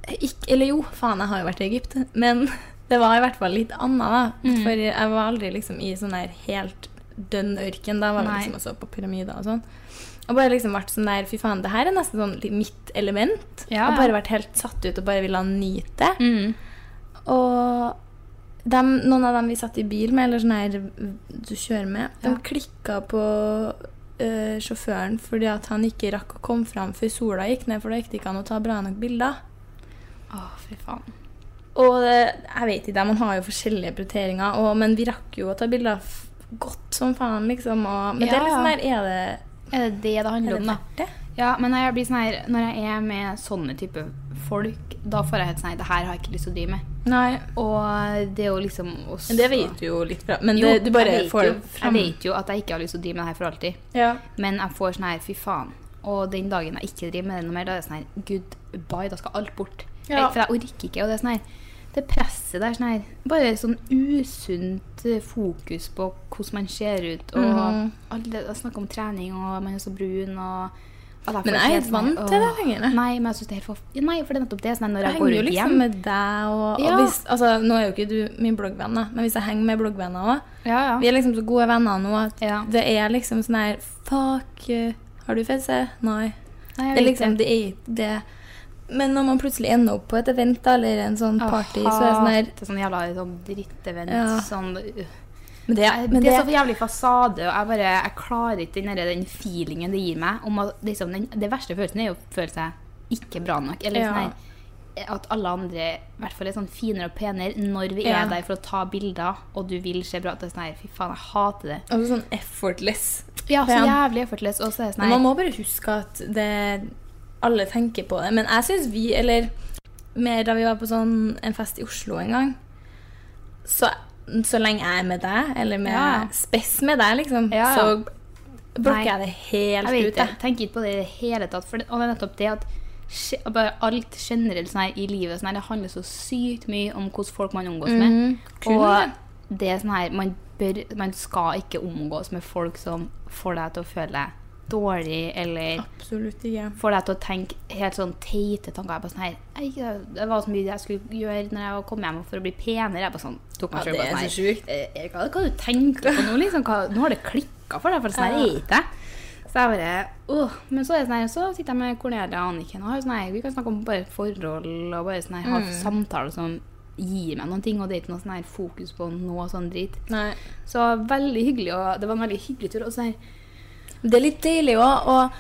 B: ikk, Eller jo, faen, jeg har jo vært i Egypt. Men det var i hvert fall litt annet, da.
A: Mm.
B: For jeg var aldri liksom i sånn der helt dønn ørken. Da var vi
A: Nei.
B: liksom og så på pyramider og sånn. Og bare liksom vært sånn der Fy faen, det her er nesten sånn li- mitt element.
A: Ja,
B: Og bare
A: ja.
B: vært helt satt ut og bare ville nyte det.
A: Mm.
B: Og dem, noen av dem vi satt i bil med, eller sånn her du kjører med,
A: Ja.
B: de klikka på eh, sjåføren fordi at han ikke rakk å komme fram før sola gikk ned, for da gikk det ikke an å ta bra nok bilder.
A: Å, fy faen.
B: Og eh, jeg vet ikke, man har jo forskjellige prioriteringer, og, men vi rakk jo å ta bilder f- godt som faen, liksom. Og, men det
A: Ja,
B: er liksom
A: ja.
B: der er det
A: Er det det det handler
B: er det
A: om, da?
B: verdt det?
A: Ja, men når jeg, blir sånn her, når jeg er med sånne type folk, da får jeg helt sånn her Det her har jeg ikke lyst til å drive med.
B: Nei.
A: Og det er jo liksom også,
B: Men det vet du jo litt fra. Men
A: Jo,
B: det, du bare
A: jeg vet
B: får
A: jo,
B: det fram.
A: Jeg vet jo at jeg ikke har lyst til å drive med det her for alltid.
B: Ja.
A: Men jeg får sånn her, fy faen. Og den dagen jeg ikke driver med det noe mer, da er det sånn her, goodbye, da skal alt bort.
B: Ja.
A: Jeg, for jeg orker ikke, og det er sånn her, det presset der, sånn her, bare sånn usunt eh, fokus på hvordan man ser ut, og
B: Mhm.
A: alle- jeg snakker om trening, og man er så brun, og... og derfor
B: Men jeg er
A: helt
B: ikke
A: sånn her,
B: vant til det
A: åh.
B: lenger. jeg.
A: Nei, men jeg synes det er helt for... Nei, for det er nettopp det, sånn her, når jeg,
B: Jeg
A: går
B: henger jo
A: ut
B: liksom
A: hjem.
B: med deg og,
A: Ja.
B: og hvis, altså, Nå er jo ikke du min bloggvenn, da, men hvis jeg henger med bloggvenner òg
A: Ja,
B: Vi er liksom så gode venner nå at
A: Ja.
B: det er liksom sånn her Fuck, eh, har du fedse? Nei.
A: Nei, jeg
B: Det er
A: vet
B: liksom det er ikke det. Men når man plutselig ender opp på et event da, eller en sånn
A: Jeg
B: party, så er det sånn her
A: hater sånn jævla sånn drittevent,
B: Ja.
A: sånn... øh.
B: Men det,
A: Jeg-
B: men
A: det
B: det,
A: er så jævlig fasade, og jeg bare, jeg klarer ikke den, der, den feelingen det gir meg. Om at, liksom, den, det verste følelsen er jo å føle seg ikke bra nok. Eller
B: Ja.
A: sånn her, at alle andre i hvert fall er sånn finere og penere når vi
B: Ja.
A: er der for å ta bilder, og du vil se bra ut. Det er Sånn her, Fy faen, jeg hater det.
B: også sånn effortless.
A: Ja, så
B: Ja.
A: jævlig effortless. Og så er det sånn
B: Men man
A: her
B: må bare huske at det, alle tenker på det. Men jeg syns vi, eller mer da vi var på sånn en fest i Oslo en gang Så, så lenge jeg er med deg, eller med
A: Ja.
B: spess med deg, liksom,
A: Ja, ja.
B: så
A: Nei.
B: blokker jeg det helt
A: Jeg
B: ut.
A: vet det.
B: Jeg.
A: Tenker ikke på det i det hele tatt. For det, og det er nettopp det at skje- bare alt generelt sånn her, i livet sånn her, det handler så sykt mye om hvordan folk man omgås med.
B: Mhm. Kun det.
A: Mm-hmm. Og det er sånn her man, bør, man skal ikke omgås med folk som får deg til å føle deg dårlig, eller
B: Absolutt ikke.
A: får deg til å tenke helt sånn teite tanker. Jeg bare sånn her, jeg, Det var så mye jeg skulle gjøre når jeg kom hjem for å bli penere. Jeg bare sånn, tok meg
B: Ja,
A: selv
B: det
A: bare
B: er
A: sånn
B: så
A: her,
B: sjukt.
A: «Eh, Erika, hva har du tenkt på nå? Liksom, hva, nå har det klikka for deg, for sånn her er ikke jeg. Så jeg bare, åh, Men så, er det sånn her, så sitter jeg med Cornelia og Anniken og har sånn her, vi kan snakke om bare forhold og bare sånn her, ha samtaler som gir meg noen ting, og det er ikke noe sånn her fokus på noe sånn drit.
B: Nei.
A: Så veldig hyggelig, og det var en veldig hyggelig tur. Og så her,
B: Men Det er litt deilig òg,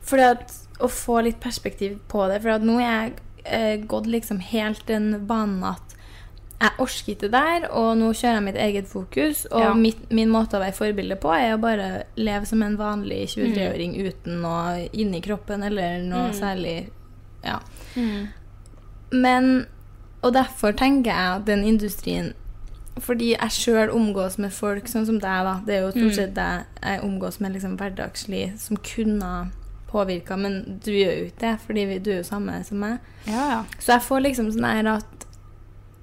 B: fordi at å få litt perspektiv på det. For at nå er jeg eh, gått liksom helt den banen at jeg orker ikke det der, og nå kjører jeg mitt eget fokus. Og
A: Ja.
B: mitt, min måte å være forbilde på er å bare leve som en vanlig 23-åring uten noe inni kroppen eller noe særlig Ja.
A: Mm.
B: Men Og derfor tenker jeg at den industrien fordi jeg sjøl omgås med folk sånn som deg, da. Det er jo stort sett deg jeg omgås med liksom hverdagslig, som kunne påvirka, men du gjør jo ikke det, fordi vi, du er jo samme som meg.
A: ja, ja.
B: Så jeg får liksom sånn her at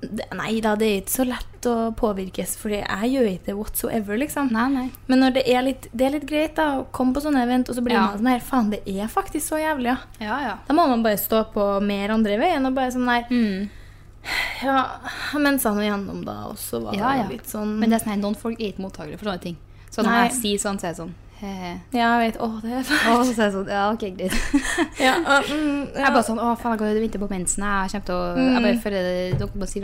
B: det- Nei da, det er ikke så lett å påvirkes, fordi jeg gjør ikke det whatsoever, liksom.
A: Nei, nei.
B: Men når det er litt, det er litt greit, da, å komme på sånne event, og så blir
A: Ja.
B: man sånn her Faen, det er faktisk så jævlig, ja.
A: Ja, ja.
B: Da må man bare stå på mer andre veien og bare sånn her
A: Mm.
B: Ja, men sa nå gjennom, da, og så var
A: Ja, ja.
B: det litt sånn
A: Men det er sånn her, noen folk er ikke mottagere for sånne ting. Så når
B: Nei.
A: jeg sier sånn, så er jeg sånn he-he.
B: Ja, jeg vet. Å, det er fælt.
A: Og så er jeg sånn Ja, OK, greit.
B: Ja, og, mm, ja.
A: Jeg er bare sånn Å, faen, jeg går og venter på mensen. Jeg kommer til å Jeg bare føler det- Dere bare sier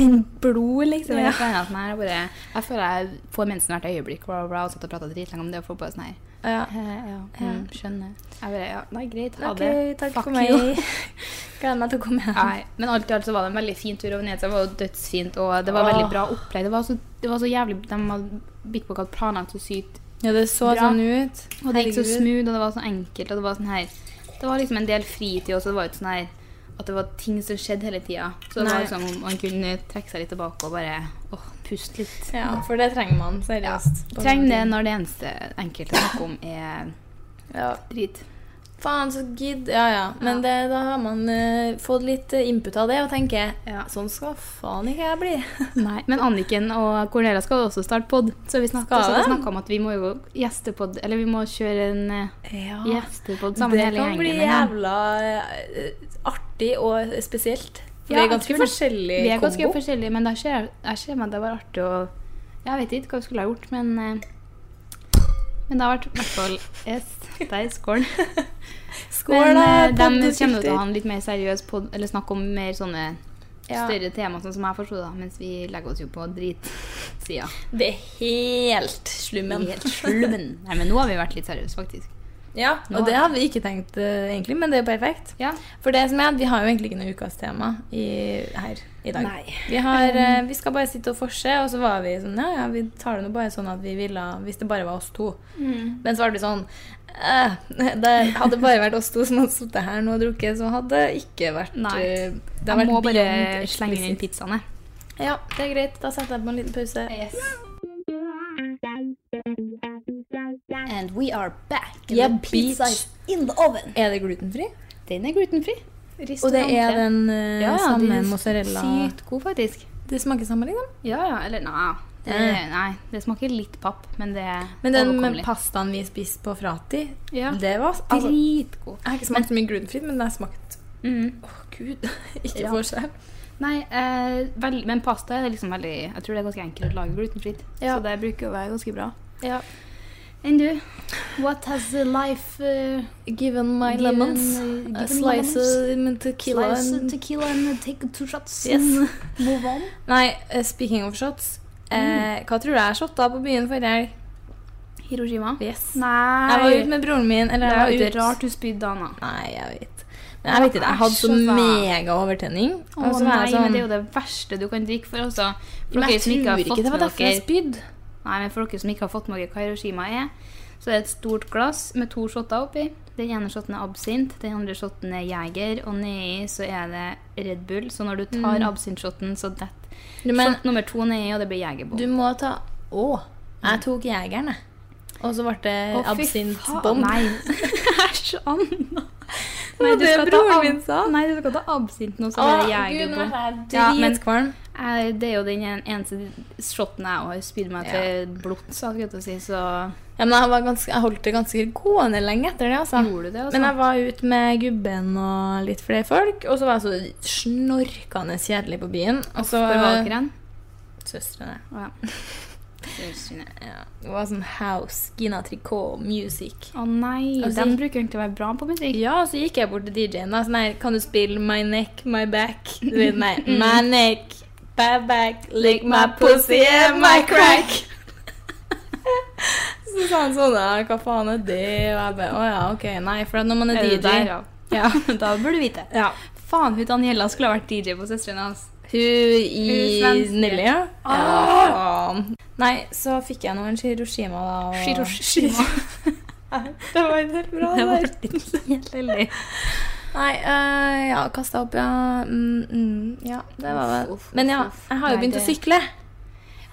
A: det blod, liksom.
B: Ja.
A: Jeg, føler at den her bare, jeg føler jeg får mensen hvert øyeblikk. Bla, bla, bla, og satt og prata dritlenge om det og får bare sånn her.
B: Ja.
A: «He, Ja, mm, skjønner. Jeg bare Ja, nei, greit. Ha
B: Ok,
A: det.
B: takk
A: Fuck
B: for meg.
A: you.
B: Gleder meg til å komme hjem.
A: Nei, men alt i alt så var det en veldig fin tur over Venezia. Det var jo dødsfint, og det var veldig bra opplegg. Det var så, det var så jævlig De hadde Bitbook hadde planlagt så sykt,
B: Ja, det så
A: Bra.
B: sånn ut.
A: og det gikk så
B: Herregud.
A: smooth, og det var så enkelt, og det var sånn her Det var liksom en del fritid også, det var jo ikke sånn her at det var ting som skjedde hele tida. Så det var
B: Nei.
A: liksom om man kunne trekke seg litt tilbake og bare åh, puste litt.
B: Ja, for det trenger man,
A: Ja.
B: seriøst. På
A: Trenger det
B: sånne ting.
A: når det eneste enkelte snakker om, er
B: Ja.
A: drit.
B: Faen, så gidd. Ja, ja. Men det, da har man eh, fått litt eh, input av det og tenker
A: Ja.
B: sånn skal faen ikke jeg bli.
A: Nei, men Anniken og Cornelia skal også starte pod. Så vi snakka
B: Skal de?
A: om at vi må jo gjestepod, eller vi må kjøre en eh,
B: Ja.
A: gjestepod
B: Ah,
A: sammen
B: det
A: hele
B: kan
A: gjengen.
B: bli
A: igjen.
B: jævla eh, artig og spesielt. For vi er
A: Ja, jeg
B: ganske
A: tror det.
B: forskjellige
A: Vi er ganske
B: kombo.
A: forskjellige, men da ser jeg ser meg at det var artig å Jeg vet ikke hva vi skulle ha gjort, men eh, Men det har vært i hvert fall Yes, der skål.
B: Skål,
A: Men
B: da,
A: eh, de kommer jo
B: poddeskulter.
A: til å ha en litt mer seriøs pod, eller snakke om mer sånne
B: Ja.
A: større tema, sånn som jeg forsto det, mens vi legger oss jo på dritsida.
B: Det er helt slummen.
A: Helt slummen. Nei, men nå har vi vært litt seriøse, faktisk.
B: Ja,
A: Nå
B: og det
A: er-
B: hadde vi ikke tenkt eh, egentlig, men det er perfekt.
A: Ja.
B: For det som er, at vi har jo egentlig ikke noe ukas tema i, her i dag.
A: Nei.
B: Vi, har, eh, vi skal bare sitte og forse, og så var vi sånn Ja, ja, vi tar det nå bare sånn at vi ville Hvis det bare var oss to.
A: Mm.
B: Men så var det sånn eh, Det hadde bare vært oss to som hadde sittet her nå og drukket, så hadde det ikke vært
A: Nei.
B: eh, Det
A: Jeg
B: hadde
A: må
B: vært
A: bare
B: beyond
A: slenge inn
B: explicit.
A: pizzaene.
B: Ja, det er greit. Da setter jeg på en liten pause.
A: And we are back.
B: Yeah,
A: The pizza
B: bitch.
A: is in the oven.
B: Er det glutenfri?
A: Den er glutenfri.
B: Og det er den eh,
A: Ja,
B: samme
A: det er
B: mozzarella
A: Sykt god, faktisk.
B: Det smaker samme, liksom?
A: Ja, ja. Eller nei. Det,
B: Eh.
A: nei. Det smaker litt papp, men det er
B: Men den med
A: overkommelig.
B: pastaen vi spiste på Frati,
A: Ja.
B: det var altså, Jeg
A: Dritgod.
B: har ikke smakt så mye glutenfritt, men det har smakt
A: Mm.
B: Å, gud. Ikke
A: Ja.
B: forskjell.
A: Nei, eh, vel, men pasta er liksom veldig Jeg tror det er ganske enkelt å lage glutenfritt.
B: Ja.
A: Så det bruker å være ganske bra.
B: Ja.
A: Enn du? What has the life uh,
B: Given uh, my
A: Given-
B: lemons,
A: given
B: a slice of lemon tequila
A: slice
B: and-
A: tequila and take two shots
B: Yes.
A: and move on?
B: Nei, eh, speaking of shots.
A: Mm.
B: Eh, hva tror du jeg shotta på byen forrige helg?
A: Hiroshima?
B: Yes.
A: Nei.
B: Jeg var ute med broren min. Eller
A: det
B: jeg
A: var
B: var
A: jo
B: ute.
A: rart du spydde, Anna.
B: Nei, jeg vet. Men jeg vet ikke, jeg hadde så
A: Æsj, altså.
B: megaovertenning.
A: Å
B: og så var
A: nei,
B: jeg
A: men
B: sånn-
A: det er jo det verste du kan drikke for, altså.
B: Men
A: For dere
B: jeg
A: som ikke
B: tror
A: har
B: ikke
A: fått
B: det var
A: med
B: derfor jeg
A: dere
B: spydde.
A: Nei, men for dere som ikke har fått med dere hva Hiroshima er, så er det et stort glass med to shotter oppi. Den ene shotten er absint, den andre shotten er jeger, og nedi så er det Red Bull. Så når du tar
B: Mm.
A: absintshotten, så detter
B: Men
A: shot nummer to nedi, og det blir jegerbom.
B: Du må ta Å! Jeg tok jegeren, jeg. Og så ble det
A: Å, fy
B: absintbom.
A: faen, Nei, æsj, Anna.
B: var det
A: skal ta
B: broren
A: ab-
B: min sa.
A: Nei, du skal ta absint nå, så
B: Å,
A: det er
B: gud, nå
A: jegerbom.
B: er jeg
A: Ja, men-
B: dritkvalm.
A: Eh, Det er jo den en- eneste shoten jeg har spydd meg til blods, skulle jeg til å si. Så
B: Ja, men jeg, var ganske, jeg holdt det ganske gående lenge etter det, altså.
A: gjorde du det, altså.
B: Men jeg var ute med gubben og litt flere folk, og så var jeg så snorkende kjedelig på byen. Og så
A: Hvor var dere hen?
B: Søstrene.
A: Å, ja. Søstrene.
B: Ja. Det var sånn house, Gina Tricot, music.
A: Å nei,
B: Altså,
A: den bruker jo egentlig å være bra på musikk.
B: Ja, så gikk jeg bort til DJ-en da, sånn her, kan du spille My Neck, My Back? Du vet, Nei, My Neck, My Back, Mm. Lick My Pussy and My Crack. så sa han sånn, ja, hva faen er det? Og jeg bare, åja, ok, nei, for at når man er,
A: Er det
B: DJ.
A: der, ja?
B: ja.
A: Da burde du vite.
B: ja.
A: Faen, hun Daniela skulle ha vært DJ på Søstrene hans.
B: Hun i
A: svenske. Ah!
B: Snille, ja. Ja, faen. Nei, så fikk jeg noen Hiroshima da. Og...
A: Hiroshima.
B: Det var helt bra
A: oh, Det
B: det
A: var
B: der.
A: helt heldig.
B: Nei, øh, ja, kasta opp, ja. Mm, mm, ja, det var vel
A: Uff, uff,
B: Men ja,
A: uff.
B: jeg har jo
A: Nei,
B: begynt å
A: det-
B: sykle.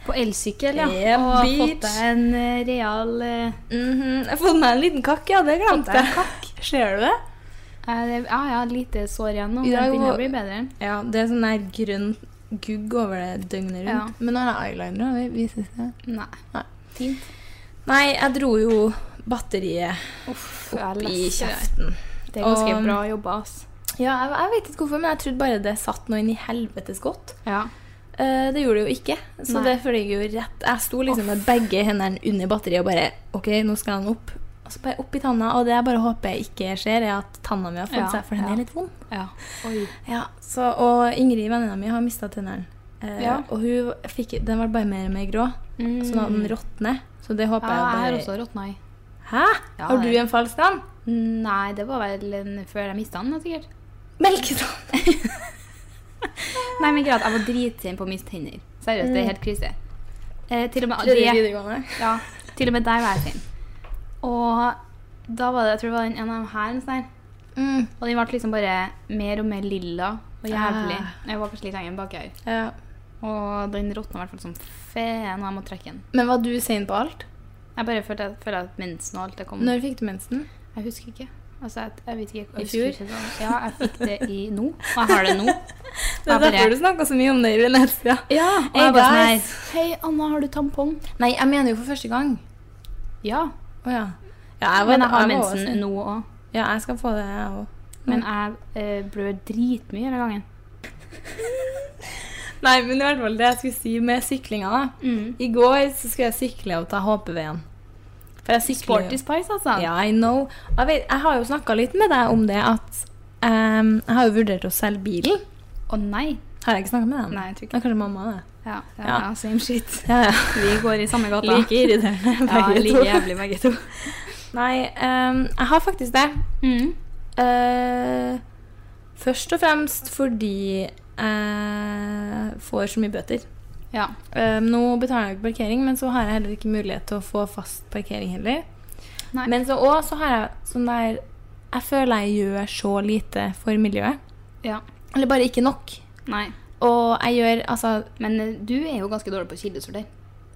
A: På elsykkel, ja.
B: Yep,
A: og har
B: bitch.
A: fått deg en eh, real eh,
B: Mhm, Jeg har fått meg en liten kakk, ja. Det
A: Fått
B: glemte
A: deg en
B: jeg. Ser du det?
A: eh, Ja, ja, lite sår igjen nå,
B: I
A: men det
B: dag
A: begynner
B: var-
A: å bli bedre.
B: Ja, det er sånn der grønn gugg over det døgnet rundt.
A: Ja.
B: Men nå har jeg eyeliner. og vi- vi ses det.
A: Nei.
B: Nei.
A: Fint.
B: Nei, jeg dro jo batteriet
A: Uff,
B: opp
A: jeg
B: i
A: leste det.
B: kjeften.
A: Det er ganske
B: Og-
A: bra jobba, ass.
B: Ja, jeg, jeg vet ikke hvorfor, men jeg trodde bare det satt noe inn i helvetes godt.
A: Ja.
B: Eh, det gjorde det jo ikke, så
A: Nei.
B: det fløy jo rett. Jeg sto liksom med begge hendene under batteriet og bare OK, nå skal den opp. Og så bare opp i tanna, og det jeg bare håper jeg ikke skjer, er at tanna mi har fått
A: Ja,
B: seg, for den
A: ja.
B: er litt vond.
A: Oi.
B: Ja, så, Og Ingrid, venninna mi, har mista tennene. Eh,
A: Ja.
B: Og hun fikk, den ble bare mer og mer grå, sånn at den råtner. Så det
A: Mm. Ja,
B: håper
A: jeg har
B: jeg
A: også
B: bare
A: råtna i.
B: Hæ?
A: Ja,
B: har
A: det-
B: du en falsk tann?
A: Nei, det var vel en, før jeg mista den, da, sikkert.
B: Melketann!
A: Nei, men greit, jeg var dritsint på å miste tenner. Seriøst,
B: Mm.
A: det er helt krise. Eh, til, og med,
B: Tredje
A: det,
B: videregående.
A: ja, til og med der var jeg sint. Og da var det jeg tror det var en en av dem her, en sånn her.
B: Mm.
A: og den ble liksom bare mer og mer lilla og jævlig.
B: Ah.
A: Jeg var kanskje litt lenger bak her.
B: Eh, Ja.
A: Og den råtna i hvert fall som faen, og jeg måtte trekke den.
B: Men var du sein på alt?
A: Jeg bare følte, følte at mensen og alt det kom
B: Når fikk du mensen?
A: Jeg husker ikke. Altså, jeg, jeg vet
B: I
A: ikke. Jeg husker
B: fjor?
A: Ikke hva- ja, jeg fikk det i nå, og jeg har det nå.
B: Det er
A: Jeg bare-
B: derfor du snakka så mye om det i Venezia.
A: Ja, og
B: Hey,
A: jeg bare sånn her
B: guys.
A: Hei, Anna, har du tampong?
B: Nei, jeg mener jo for første gang.
A: Ja.
B: Å ja. ja jeg var,
A: Men jeg har
B: var også-
A: mensen nå òg.
B: Ja, jeg skal få det, jeg òg.
A: Men jeg eh, blør dritmye hele gangen.
B: Nei, men i hvert fall det jeg skulle si med syklinga, da.
A: Mm.
B: I går så skulle jeg sykle og ta HPV-en. For jeg sykler jo-
A: Sporty Spice, altså.
B: Ja, I know. Jeg, vet, jeg har jo snakka litt med deg om det at ehm, Jeg har jo vurdert å selge bilen.
A: Å nei.
B: Har jeg ikke snakka med dem?
A: Nei, jeg tror
B: Det
A: ikke
B: er kanskje mamma, det.
A: Ja, Mm. ja,
B: Ja.
A: ja, same shit.
B: Ja, ja.
A: Vi går i samme gata.
B: Like irriterende.
A: ja,
B: begge
A: like
B: to.
A: jævlig begge to.
B: Nei, ehm, jeg har faktisk det.
A: Mm.
B: Eh, først og fremst fordi jeg får så mye bøter.
A: Ja.
B: Eh, nå betaler jeg ikke parkering, men så har jeg heller ikke mulighet til å få fast parkering heller.
A: Nei.
B: Men så også så har jeg sånn der Jeg føler jeg gjør så lite for miljøet.
A: ja.
B: Eller bare ikke nok.
A: Nei.
B: Og jeg gjør altså
A: Men eh, du er jo ganske dårlig på kildesorter.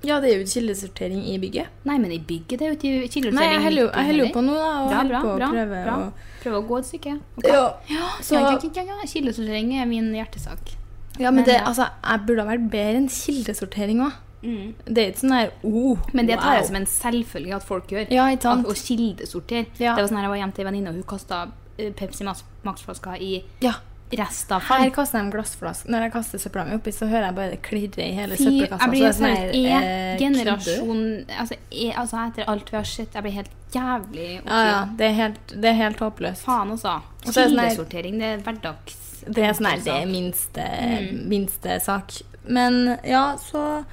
B: Ja, det er jo kildesortering i bygget.
A: Nei, men i bygget det er jo ikke kildesortering.
B: Nei, jeg heller jo- jeg heller jo
A: heller.
B: på noe, da. Og
A: Bra,
B: holder
A: bra,
B: på å
A: bra,
B: prøve
A: bra.
B: å-
A: Prøv å gå et stykke. Ok.
B: Ja,
A: Så... Ja,
B: så-
A: ja, ja, ja. Kildesortering er min hjertesak.
B: Ja, men
A: Men
B: det,
A: ja.
B: altså, jeg burde ha vært bedre enn kildesortering òg.
A: Mm.
B: Det er ikke sånn der oh,
A: Men det tar jeg
B: wow.
A: som en selvfølgelig at folk gjør.
B: Ja, ikke sant?
A: At, og kildesorter.
B: Ja.
A: Ah, oh, Det var sånn her, Jeg var hjemme til en venninne, og hun kasta Pepsi Max- Max-flasker i
B: Ja.
A: restavfall.
B: Her kaster de glassflask. Når jeg kaster søpla mi oppi, så hører jeg bare det klirre i hele
A: Fy,
B: søppelkassa.
A: jeg
B: så det
A: blir
B: er
A: sånn
B: her,
A: E
B: eh, kødder du?
A: generasjon altså, e, altså etter alt vi har sett, jeg blir helt jævlig oppgitt.
B: Ja, ja. Det er helt, det er helt håpløst.
A: Faen også.
B: Og så er det sånn her-
A: Kildesortering, det er hverdags...
B: Det er sånn her det er minste,
A: Mm.
B: minste sak. Men ja, så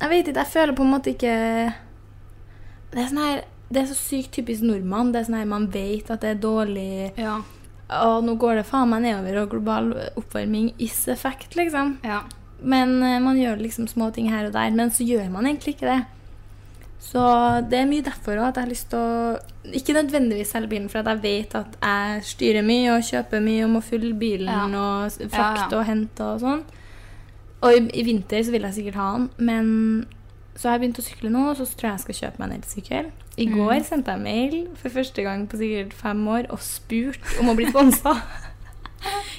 B: Jeg vet ikke. Jeg føler på en måte ikke Det er sånn her det er så sykt typisk nordmann. Det er sånn her Man vet at det er dårlig
A: Ja.
B: Og nå går det faen meg nedover, og global oppvarming is effect, liksom.
A: ja.
B: Men eh, man gjør liksom små ting her og der, men så gjør man egentlig ikke det. Så det er mye derfor også at jeg har lyst til å Ikke nødvendigvis selge bilen, for at jeg vet at jeg styrer mye og kjøper mye og må fylle bilen
A: Ja.
B: og s-
A: Ja,
B: frakte
A: ja.
B: og hente og sånn. Og i, i vinter så vil jeg sikkert ha den, men så har jeg begynt å sykle nå, og så tror jeg jeg skal kjøpe meg en elsykkel. I
A: Mm.
B: går sendte jeg mail for første gang på sikkert fem år og spurt om å bli sponsa.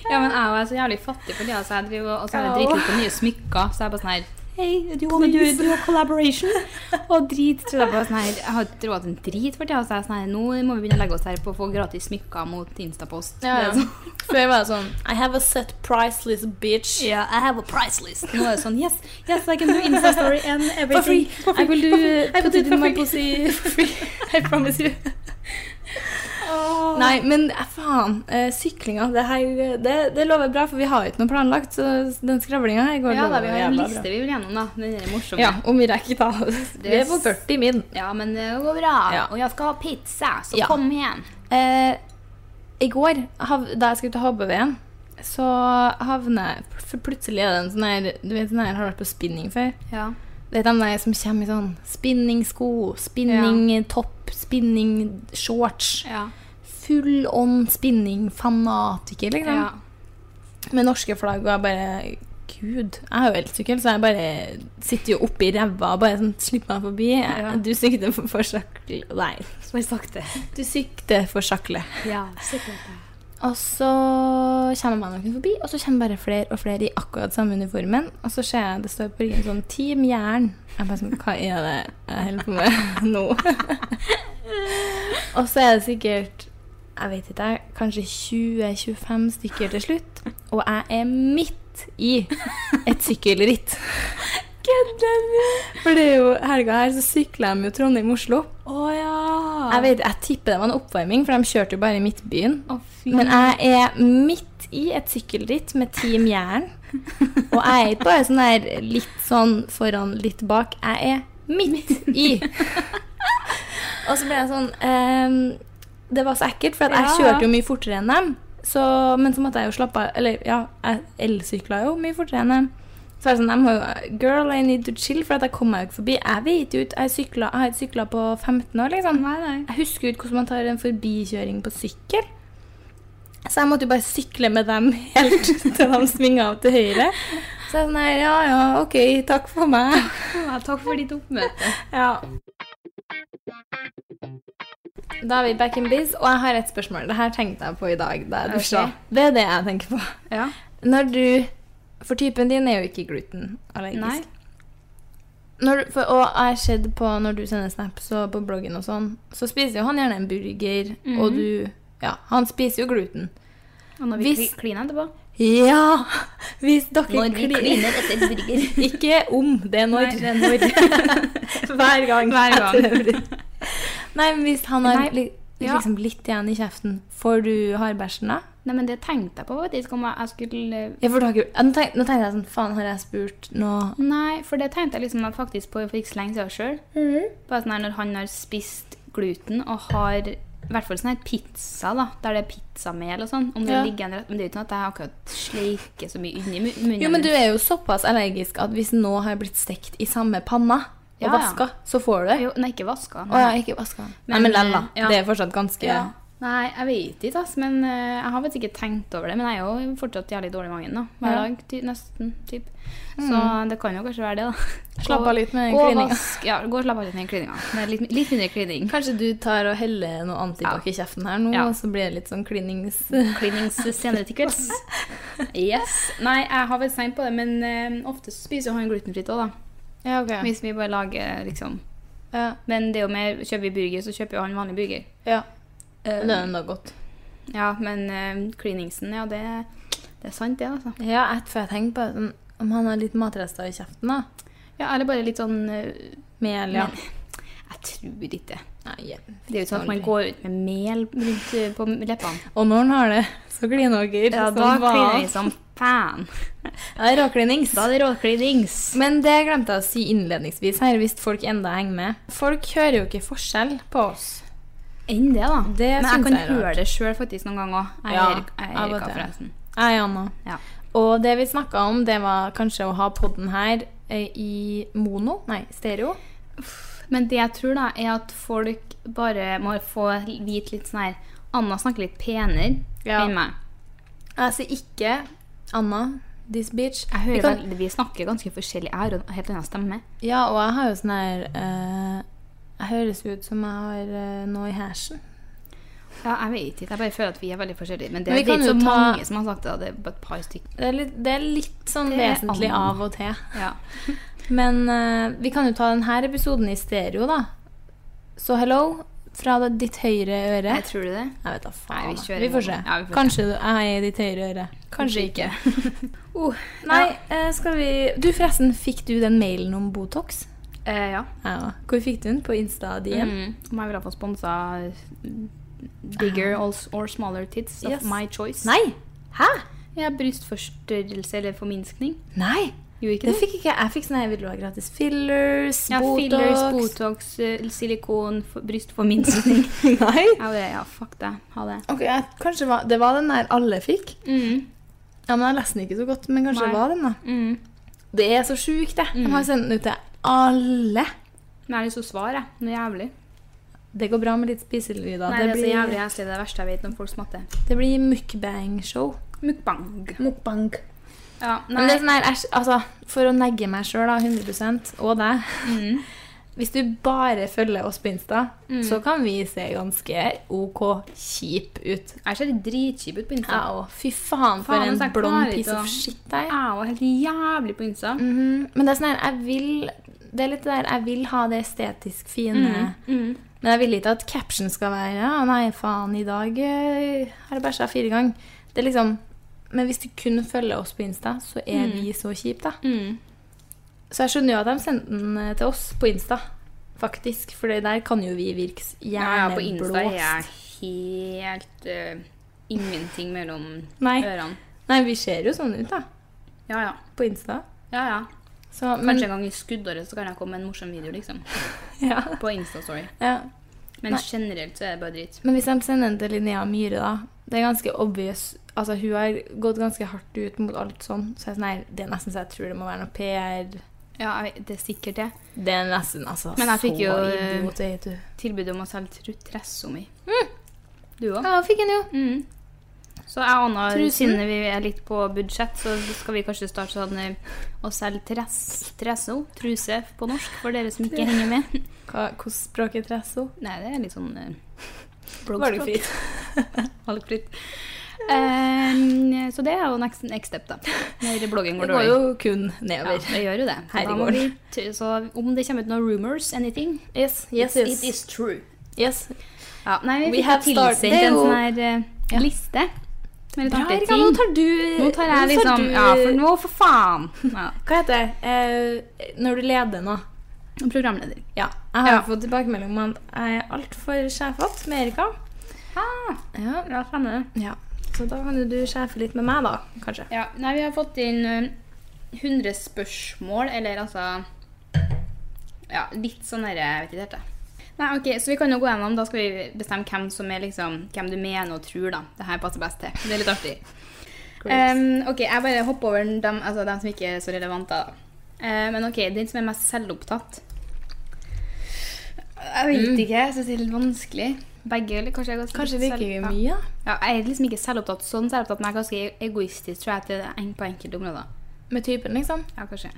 A: Ja, men jeg er så jævlig fattig fordi altså, jeg driver og så har jeg
B: Ja.
A: dritlyst på nye smykker. Så jeg er bare sånn her Hei, do you
B: wanna do- do
A: a collaboration? og drit. Så jeg, er bare sånn her, jeg har ikke råd til en drit for tida. Så jeg er sånn her, nå må vi begynne å legge oss her på å få gratis smykker mot Instapost.
B: Ja,
A: Det
B: ja.
A: er sånn-
B: Før var det sånn I have a set price, little bitch.
A: Yeah, I have a price list. Nå er det sånn Yes, yes, I can do Insta story and
B: For free,
A: everything.
B: for free, I will do
A: I will do it for free.
B: for free. I promise you. Nei, men eh, faen. eh, Syklinga, det, her, eh, det, det lover bra, for vi har jo ikke noe planlagt. Så den skravlinga her går
A: Ja, da,
B: lover
A: vi har en
B: jævla
A: liste
B: bra.
A: vi vil gjennom, da. Den der morsomme.
B: Ja, om vi rekker da. Vi er på 40 min.
A: Ja, men eh, det går bra.
B: Ja.
A: Og jeg skal ha pizza, så
B: Ja.
A: kom igjen.
B: Eh, I går, hav, da jeg skulle til Hobbeveien, så havner jeg for Plutselig er det en sånn her Du vet den her har vært på spinning før?
A: Ja.
B: Det er de der som kommer i sånn spinningsko, spinningtopp, spinningshorts.
A: Ja.
B: Full on spinning, fanatiker, liksom.
A: ja.
B: Med norske flagg, og jeg bare Gud, jeg har jo elsykkel, så jeg bare sitter jo oppi ræva og bare sånn Slipp meg forbi.
A: Ja.
B: Du sykter for, for sakle Nei.
A: Så har jeg sagt det.
B: Du sykter for sakle.
A: Ja, sikkert.
B: Og så kommer man noen forbi, og så kommer bare flere og flere i akkurat samme uniformen. Og så ser jeg det står på ryggen sånn Team Jern. Jeg bare sånn Hva er det jeg holder på med nå? og så er det sikkert jeg vet ikke, jeg, kanskje 20-25 stykker til slutt. Og jeg er midt i et sykkelritt. Kødder du? For det er jo helga her, så sykler de jo Trondheim-Oslo.
A: Å ja.
B: Jeg vet, jeg tipper det var en oppvarming, for de kjørte jo bare i Midtbyen.
A: Å, fy.
B: Men jeg er midt i et sykkelritt med Team Jæren. Og jeg er ikke bare sånn der litt sånn foran, litt bak. Jeg er midt i. Og så ble jeg sånn ehm, Det var så ekkelt, for at jeg
A: Ja.
B: kjørte jo mye fortere enn dem. Så, men så måtte jeg jo slappe av. Eller ja, jeg elsykla jo mye fortere enn dem. Så er det sånn, jeg må jo, Girl, I need to chill, for at jeg kom meg jo ikke forbi. Jeg vet jo ikke, jeg, syklet- jeg har ikke sykla på 15 år, liksom.
A: Nei, nei.
B: Jeg husker jo ikke hvordan man tar en forbikjøring på sykkel. Så jeg måtte jo bare sykle med dem helt til de svinga av til høyre. Så jeg er sånn her, ja ja, OK, takk for meg.
A: Ja, takk for ditt oppmøte.
B: Ja. Da er vi back in biz, og jeg har et spørsmål. Det her tenkte jeg på i dag da jeg dusja.
A: Ok.
B: Det er det jeg tenker på.
A: Ja.
B: Når du For typen din er jo ikke glutenallergisk.
A: Nei.
B: Når, du- for, og jeg har sett på når du sender snaps og på bloggen og sånn, så spiser jo han gjerne en burger, og du Ja, han spiser jo gluten.
A: Og når vi
B: Hvis-
A: kli- kliner etterpå.
B: Ja! Hvis dere kli-
A: etter burger.
B: Ikke om, det er når.
A: Nei.
B: Det er når. Hver gang.
A: Hver gang.
B: etter det blir- Nei, men hvis han har
A: Nei.
B: li- Det er
A: Ja.
B: liksom litt igjen i kjeften. Får du hardbæsjen da?
A: Nei, men det tenkte jeg på, faktisk, om jeg- jeg skulle eh,
B: Ja, for du har ikke... Ja, Nå tenk- nå tenkte jeg sånn, faen har jeg spurt nå?
A: Nei, for det tenkte jeg liksom at faktisk på for ikke så lenge siden sjøl.
B: Mhm.
A: Bare sånn her når han har spist gluten og har i hvert fall sånn her pizza, da, der det er pizzamel og sånn. Om det
B: Ja.
A: ligger en rett Men det er jo ikke sånn at jeg akkurat sleiker så mye inni mu- munnen.
B: Jo, men
A: min.
B: du er jo såpass allergisk at hvis nå har blitt stekt i samme panna og
A: Ja, ja.
B: vaska, så får du det.
A: Jo, Nei, ikke vaska.
B: Å ja, ikke vaska. Nei,
A: Men,
B: men lell da.
A: eh, ja.
B: Det er fortsatt ganske...
A: Ja. Nei, jeg vet ikke, ass, men eh, jeg har faktisk ikke tenkt over det. Men jeg er jo fortsatt jævlig dårlig i magen da. hver
B: Ja. Mm.
A: dag. Ty nesten. Typ. Så det kan jo kanskje være det, da.
B: Slapp av litt med
A: Gå og
B: klininga.
A: vask- Ja, gå og slapp av litt med klininga. Det er litt, litt mindre klining.
B: Kanskje du tar og heller noe antibac i kjeften her nå,
A: Ja.
B: og så blir det litt sånn klinings...
A: Klinings senere til kvelds. Yes. Nei, jeg har vel tenkt på det, men eh, ofte så spiser jo han glutenfritt òg, da.
B: Ja, ok.
A: Hvis vi bare lager, liksom.
B: Ja,
A: Men det er jo mer Kjøper vi burger, så kjøper jo han vanlig burger.
B: ja.
A: Eh,
B: Det er enda godt.
A: ja, men eh, kliningsen, ja, det, det er sant, det, altså.
B: Ja, etterfor jeg tenker på det, sånn, om han har litt matrester i kjeften, da.
A: Ja, eller bare litt sånn eh,
B: Mel, ja.
A: Jeg tror ikke det.
B: Nei, ja.
A: Det er jo sånn at man
B: Aldri.
A: går ut med mel rundt eh, på leppene.
B: Og når han har det, så kliner dere.
A: Ja,
B: som
A: da
B: faen.
A: kliner vi som fan.
B: Ja, det er råklinings.
A: Da er det råklinings.
B: Men det glemte jeg å si innledningsvis her, hvis folk enda henger med. Folk hører jo ikke forskjell på oss.
A: Enn det, da.
B: Det
A: Men jeg
B: synes
A: kan
B: jeg er
A: høre
B: rart.
A: det sjøl faktisk noen ganger òg. Jeg
B: Ja,
A: hører jeg
B: av
A: hører
B: og
A: hva
B: til.
A: forresten.
B: Jeg er Anna.
A: Ja.
B: Og det vi snakka om, det var kanskje å ha podden her eh, i mono, nei, stereo.
A: Men det jeg tror, da, er at folk bare må få vite litt sånn her Anna snakker litt penere
B: Ja.
A: enn meg.
B: Jeg sier ikke Anna, this bitch.
A: Jeg
B: Vi
A: hører
B: kan-
A: vel- Vi snakker ganske forskjellig. Jeg har en helt annen stemme.
B: Ja, og jeg har jo sånn her eh, Jeg høres ut som jeg har eh, noe i hersen.
A: Ja, jeg vet ikke. Jeg bare føler at vi er veldig forskjellige. Men det
B: Men
A: er
B: vi kan
A: ikke så
B: jo ta-
A: mange som har sagt det. Det er bare et par stykker.
B: Det er litt, det er litt sånn
A: Det er
B: vesentlig
A: Anna.
B: av og til.
A: Ja.
B: Men eh, vi kan jo ta denne episoden i stereo, da. Så hello fra det- ditt høyre øre.
A: Jeg tror det.
B: Jeg vet da faen.
A: Nei, vi
B: jeg.
A: kjører
B: vi, får se.
A: mono. Ja, vi får se.
B: Kanskje du er i ditt høyre øre. Kanskje ikke.
A: Uh,
B: Nei, eh, skal vi Du, forresten, fikk du den mailen om Botox?
A: eh, ja.
B: Ja. Hvor fikk du den? På Insta DM?
A: Mm. Om jeg ville få sponsa mm, bigger or, or smaller tits of
B: Yes.
A: my choice.
B: Nei! Hæ?
A: Ja, brystforstørrelse eller forminskning.
B: Nei!
A: Gjorde ikke
B: Det
A: det?
B: fikk ikke jeg. Jeg fikk sånn her, vil du ha gratis fillers,
A: ja,
B: Botox
A: fillers, Botox, eh, silikon, for, brystforminskning.
B: Nei.
A: ja, det, ja, fuck det. Ha det.
B: Ok, jeg, kanskje var, det var den der alle fikk.
A: Mm.
B: Ja, men Jeg leste den ikke så godt, men kanskje
A: Nei.
B: det var den, da.
A: Mm.
B: Det er så sjukt, det. De har sendt den ut til alle.
A: Men jeg har lyst til å svare. jeg. Noe jævlig.
B: Det går bra med litt spiselyder.
A: Nei, det, er så jævlig
B: blir,
A: heslig. Det er det verste jeg vet når folk smatter.
B: det blir mukbang-show.
A: Mukbang.
B: Mukbang.
A: Ja, nei.
B: Men det er sånn her, æsj, altså, For å negge meg sjøl, 100 og deg
A: Mm.
B: Hvis du bare følger oss på Insta,
A: Mm.
B: så kan vi se ganske OK kjip ut.
A: Jeg ser dritkjip ut på Insta.
B: Au, fy faen, for
A: Faen,
B: en
A: altså, jeg
B: blond
A: klarer
B: piece
A: ikke å-
B: of shit jeg er.
A: Jeg var helt jævlig på Insta.
B: Mhm, Men det er sånn her, jeg vil Det er litt det der Jeg vil ha det estetisk fine.
A: Mm.
B: Men jeg vil ikke at caption skal være ja, 'Nei, faen, i dag eh, har jeg bæsja fire ganger'. Det er liksom Men hvis du kun følger oss på Insta, så er
A: Mm.
B: vi så kjipe, da.
A: Mm.
B: Så jeg skjønner jo at de sendte den eh, til oss på Insta, faktisk. For det der kan jo vi virke s-
A: Ja, ja, på Insta er jeg
B: hjerneblåst.
A: helt eh, ingenting mellom
B: Nei.
A: ørene.
B: Nei, vi ser jo sånn ut, da.
A: Ja, ja.
B: På Insta.
A: ja, ja.
B: Så,
A: Kanskje
B: men,
A: en gang i skuddåret så kan jeg komme med en morsom video, liksom.
B: ja,
A: På Insta-story.
B: ja.
A: Men
B: Nei.
A: generelt så er det bare dritt.
B: men hvis de sender den til Linnea Myhre, da Det er ganske obvious. Altså, hun har gått ganske hardt ut mot alt sånn. Så jeg, er sånn, nei, det er nesten så jeg tror det må være noe PR.
A: Ja, jeg vet- det er sikkert det.
B: Det er nesten altså
A: Men jeg fikk jo,
B: så
A: eh,
B: idiot, vet du.
A: Tilbudet om å selge tru- tressa mi. Du òg?
B: Ja, fikk en jo.
A: Mm. Så jeg og Anna,
B: Trusen.
A: siden vi er litt på budsjett, så skal vi kanskje starte sånn eh, å selge tress, tresso, truse på norsk, for dere som ikke henger med.
B: Hva, hvordan språk er tresso?
A: Nei, det er litt sånn eh, bloggspråk.
B: Valgfritt.
A: Valgfritt. Ehm, så det er jo next, next step, da. Når bloggen
B: Det
A: går
B: går
A: dårlig.
B: jo kun
A: Ja,
B: nedover.
A: det gjør jo det. Så,
B: Her
A: da
B: i
A: må
B: går.
A: vi, t- så om det kommer ut noen rumors, anything
B: Yes, yes,
A: it's-
B: yes.
A: It is true.
B: yes.
A: Ja, nei,
B: We
A: vi fikk
B: have started. Det
A: tilsendt
B: er
A: en
B: jo-
A: sånn her eh,
B: Ja.
A: liste med litt
B: Bra,
A: artige
B: Erika, nå
A: ting.
B: tar du
A: Nå tar jeg
B: nå tar
A: liksom
B: du-
A: Ja, for nå, for faen! Ja.
B: Hva heter det? Eh, når du leder nå.
A: Programleder.
B: Ja. Jeg har
A: Ja.
B: fått tilbakemelding om at jeg er altfor sjefete med Erika. Ja.
A: Ja, spennende.
B: ja. Så da kan jo du sjefe litt med meg, da, kanskje.
A: Ja, nei, vi har fått inn eh, 100 spørsmål, eller altså Ja, litt sånn herre Jeg vet ikke helt, jeg. Nei, ok, så vi kan jo gå gjennom. Da skal vi bestemme hvem som er liksom Hvem du mener og tror, da. Det her passer best til. Det er litt artig. Em, ok, jeg bare hopper over dem, altså, dem som ikke er så relevante, da. Eh, men ok, den som er mest selvopptatt Jeg vet ikke. Jeg syns det er litt vanskelig. Begge, eller kanskje jeg er ganske
B: Mm. Kanskje
A: litt
B: det ikke
A: selv-
B: er
A: ja.
B: mye?
A: Ja, jeg er liksom ikke selvopptatt sånn selvopptatt, men jeg er ganske egoistisk, tror jeg, til en- på enkelte områder.
B: Med typen, liksom?
A: Ja, kanskje.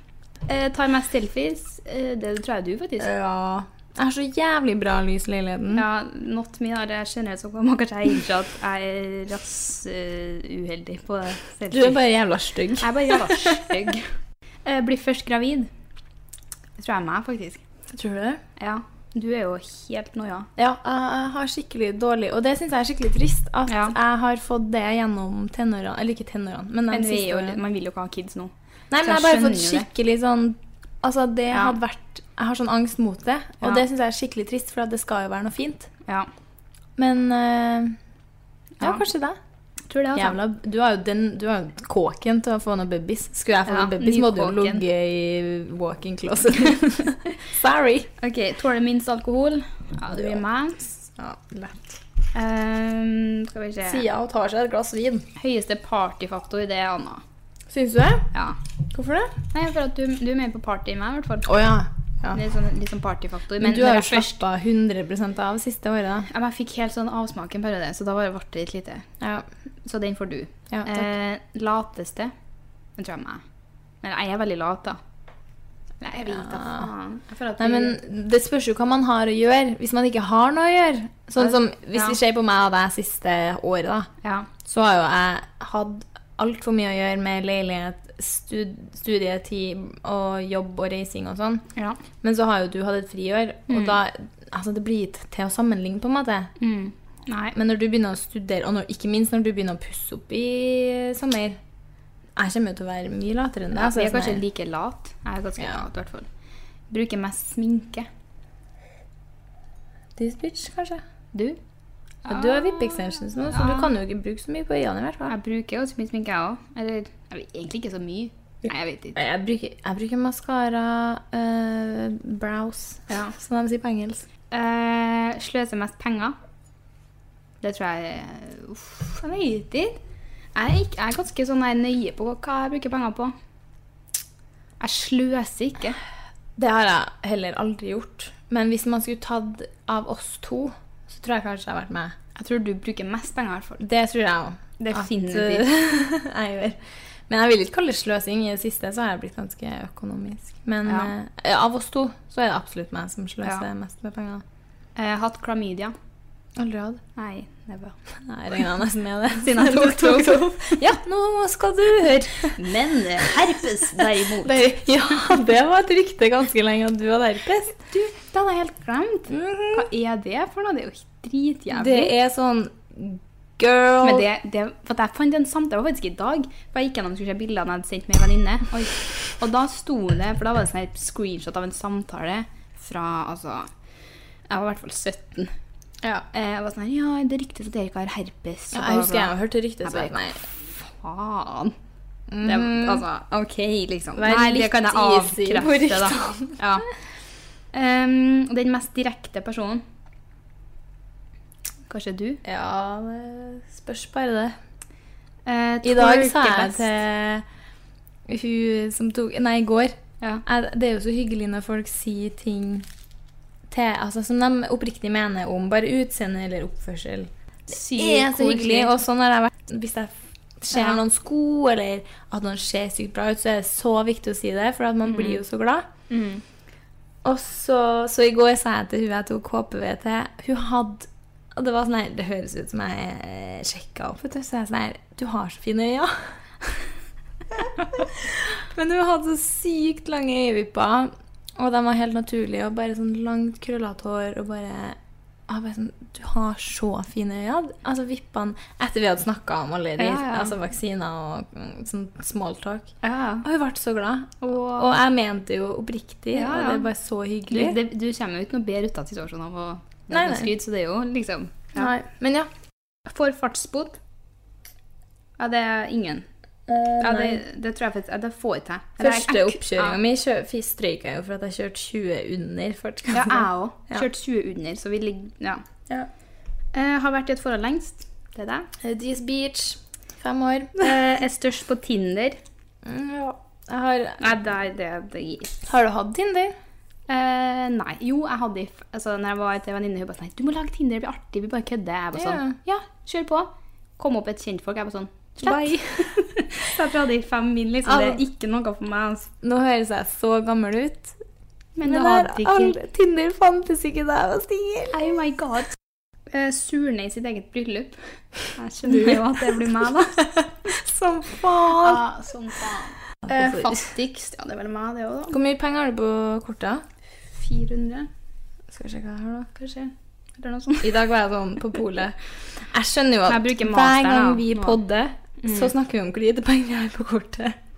A: Eh, tar mest selfies. Eh, det tror jeg du, faktisk.
B: Ja. Jeg har så jævlig bra lys i leiligheten.
A: Ja, not me, da. Det generelt så kan man kanskje innse at jeg er rass eh, uheldig på
B: Du er
A: selfies.
B: bare jævla stygg.
A: Jeg er bare jævla stygg. Eh, blir først gravid. Det tror jeg er meg, faktisk.
B: Tror du det?
A: Ja. Du er jo helt noia.
B: Ja, jeg jeg har skikkelig dårlig Og det syns jeg er skikkelig trist. At
A: Ja.
B: jeg har fått det gjennom tenårene. Eller ikke tenårene, men de
A: Men vi
B: siste
A: er jo,
B: årene.
A: litt- man vil jo ikke ha kids nå.
B: Nei, men jeg
A: Så jeg
B: har bare fått
A: skjønner jo det.
B: skikkelig sånn Altså, det
A: Ja.
B: hadde vært Jeg har sånn angst mot det, og
A: Ja.
B: det syns jeg er skikkelig trist, for at det skal jo være noe fint.
A: Ja.
B: Men eh, ja,
A: Ja.
B: kanskje det.
A: Tror det, altså.
B: Jævla, du har jo den Du har jo kåken til å få noen babies. Skulle jeg få
A: Ja,
B: noen babies, må du jo
A: nykåken.
B: ligge i walking closet. Sorry.
A: Ok, tåler minst alkohol. Ja, det blir meg.
B: Ja, lett.
A: Ehm, skal vi se
B: Sia og tar seg et glass vin.
A: Høyeste partyfaktor, det er Anna.
B: Syns du det?
A: Ja.
B: Hvorfor det?
A: Nei, for at du, du er mer på party enn meg, i hvert fall.
B: Å ja. ja.
A: Det er sånn, litt sånn partyfaktor.
B: Men,
A: Men,
B: du har jo
A: når jeg først
B: slappa 100 av siste året,
A: ja, men jeg fikk helt sånn avsmak en periode, så da var det vart det litt lite.
B: da. Ja.
A: Så den får du.
B: ja takk.
A: eh, lateste Den tror jeg er meg. Men jeg er veldig lat, da. Nei, jeg vet da
B: Ja.
A: faen. Jeg føler at
B: Nei,
A: vi-
B: men Det spørs jo hva man har å gjøre hvis man ikke har noe å gjøre. Sånn som Hvis
A: Ja.
B: vi ser på meg og deg siste året, da,
A: Ja.
B: så har jo jeg hatt altfor mye å gjøre med leilighet, stud studietid og jobb og reising og sånn.
A: ja.
B: Men så har jo du hatt et friår, og
A: Mm.
B: da Altså, det blir ikke til å sammenligne, på en måte.
A: Mm. Nei.
B: Men når du begynner å studere, og når, ikke minst når du begynner å pusse opp i sommer Jeg kommer jo til å være mye latere enn deg.
A: Ja,
B: altså,
A: vi er
B: sånn
A: kanskje
B: her.
A: like lat. Jeg er ganske
B: Ja.
A: lat, i hvert fall. Bruker mest sminke.
B: This bitch, kanskje.
A: Du?
B: Ja, du har vippe extensions nå, så du kan jo ikke bruke så mye på øynene. i hvert fall.
A: Jeg bruker jo så mye sminke, jeg òg. Eller jeg vet egentlig ikke så mye. Nei, jeg vet ikke.
B: Jeg bruker, jeg bruker maskara, eh, brows,
A: Ja.
B: som de sier på engelsk.
A: Eh, sløser mest penger. Det tror jeg Uff, jeg vet ikke. Jeg er, ikke, jeg er ganske sånn der nøye på hva jeg bruker penger på. Jeg sløser ikke.
B: Det har jeg heller aldri gjort. Men hvis man skulle tatt av oss to, så tror jeg kanskje jeg har vært med.
A: Jeg tror du bruker mest penger, i hvert fall.
B: Det tror jeg òg.
A: Definitivt.
B: jeg gjør. Men jeg vil ikke kalle det sløsing. I det siste så har jeg blitt ganske økonomisk. Men
A: Ja.
B: eh, av oss to så er det absolutt meg som sløser
A: Ja.
B: mest med penger.
A: Eh, hatt klamydia.
B: Aldri hatt.
A: Nei, never.
B: Jeg regna nesten med det.
A: Siden jeg tok det opp.
B: Ja, nå skal du høre.
A: Men herpes, derimot.
B: ja, det var et rykte ganske lenge at du hadde herpes.
A: Du, det hadde jeg helt glemt. Hva er det for noe? Det er jo dritjævlig.
B: Det er sånn girl
A: Men det, det, for at jeg fant en samtale, det var faktisk i dag, for jeg gikk gjennom og skulle se bildene jeg hadde sendt med en venninne. Oi. Og da sto det, for da var det sånn her screenshot av en samtale fra, altså, jeg var i hvert fall 17.
B: ja.
A: Eh, Jeg var sånn her, ja, det er ryktet at dere ikke har herpes. og
B: Ja,
A: bla,
B: Jeg husker
A: bla,
B: jeg har hørt ryktet.
A: Jeg
B: så jeg
A: bare,
B: nei.
A: bla. Faen. Det, altså, ok, liksom.
B: Mm. Vær
A: Nei, det
B: litt
A: kan jeg
B: easy på
A: avkrefte, da. Ja. Em, og den mest direkte personen. Kanskje du?
B: Ja, det spørs bare det.
A: Eh,
B: I dag sa jeg
A: twerkefest.
B: til hun som tok Nei, i går.
A: Ja.
B: Jeg- Det er jo så hyggelig når folk sier ting til, altså, som de oppriktig mener om bare utseende eller oppførsel. Det er så hyggelig, og sånn har jeg vært. Hvis jeg ser
A: Ja.
B: noen sko, eller at noen ser sykt bra ut, så er det så viktig å si det, for at man blir jo så glad.
A: Mm.
B: Og så, så i går sa jeg til hun jeg tok HPV til, hun hadde og det var sånn her, det høres ut som jeg eh, sjekka opp. vet du, Så jeg sånn her Du har så fine øyne. Men hun hadde så sykt lange øyevipper, og de var helt naturlige. Og bare sånn langt, krøllete hår. Og bare, jeg var bare sånn Du har så fine øyne. Altså vippene Etter vi hadde snakka om alle de,
A: Ja, ja.
B: Altså, vaksiner og mm, sånn smalltalk.
A: Ja.
B: Og hun ble så glad.
A: Og,
B: Og jeg mente jo oppriktig,
A: Ja,
B: og
A: ja.
B: det er bare så
A: du,
B: hyggelig.
A: det, du kommer jo ikke noe bedre ut av situasjonen av å
B: Nei, nei.
A: skryte, så det er jo liksom ja.
B: Nei, Men ja,
A: For fartsbot? Ja, det er ingen. Ja,
B: nei.
A: det, det tror jeg faktisk ja, Det får jeg til. Eller jeg-
B: Første
A: jeg-
B: oppkjøringa mi strøyk jeg jo for at jeg kjørte 20 under
A: Ja,
B: fartsgrensa.
A: jeg òg.
B: Ja.
A: Kjørt 20 under, så vi ligger Ja.
B: Ja.
A: Eh, har vært i et forhold lengst. Det er deg.
B: This beach. Fem år.
A: Eh, er størst på Tinder.
B: Mm, ja. Jeg har,
A: Nei, det er det det gir.
B: har du hatt Tinder?
A: Eh, nei. Jo, jeg hadde i f- altså, Når jeg var til en venninne, hun bare sånn «Nei, Du må lage Tinder, det blir artig. Vi bare kødder. Jeg bare sånn Ja, kjør på. Kom opp et kjentfolk. Jeg bare sånn Slett.
B: Bye.
A: Så jeg tror jeg hadde i fem min, liksom. Det er ikke noe for meg. Altså.
B: Nå høres jeg så gammel ut.
A: Men det hadde
B: jeg
A: ikke
B: har aldri- Tinder fantes ikke da jeg var singel.
A: Oh my god. Eh, surne i sitt eget bryllup. Jeg skjønner jo at det blir meg, da.
B: Som faen.
A: som faen. Eh, fattigst. Ja, det er vel meg, det òg, da.
B: Hvor mye penger har du på kortet?
A: 400,
B: Skal vi sjekke her, da.
A: kanskje. Eller noe sånt.
B: I dag var jeg sånn på polet. Jeg skjønner jo
A: Jeg
B: at
A: bruker
B: hver
A: masteren,
B: gang
A: da,
B: vi
A: nå. Mm.
B: podder, så snakker vi om hvor lite penger jeg har på kortet.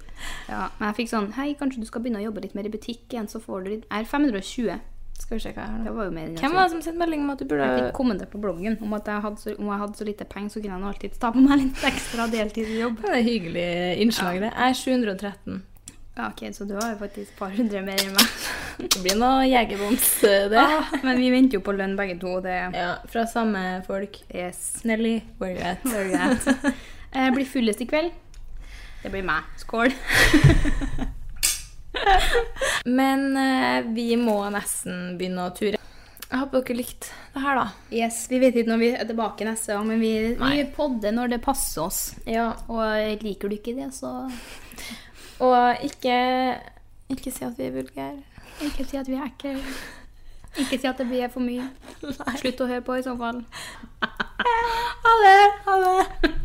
A: Ja, men jeg fikk sånn Hei, kanskje du skal begynne å jobbe litt mer i butikk igjen, så får du litt Jeg er 520.
B: Skal vi sjekke her,
A: Det
B: da.
A: var jo mer enn jeg
B: Hvem var det som sendte melding om at du burde
A: Jeg fikk kommentert på bloggen om at jeg hadde så, om jeg hadde så lite penger, så kunne jeg nå alltid ta på meg litt ekstra deltidsjobb.
B: Det er et hyggelig innslag, det. Jeg er 713.
A: Ja, OK, så du har jo faktisk et par hundre mer enn meg.
B: Det blir noe jegerboms, det.
A: Ah, men vi venter jo på lønn begge to, og det
B: Ja, fra samme folk.
A: Yes.
B: Nelly, where you at?
A: Very good. Eh, blir fullest i kveld? Det blir meg. Skål.
B: Men eh, vi må nesten begynne å ture. Jeg håper dere likte det her, da.
A: Yes, Vi vet ikke når vi er tilbake neste gang, men vi, vi podder når det passer oss.
B: Ja.
A: Og liker du ikke det, så
B: Og ikke, ikke si at vi er vulgære.
A: ikke si at vi er ekle. Ikke si at det blir for mye. Slutt å høre på i så fall.
B: Ha det! Ha det!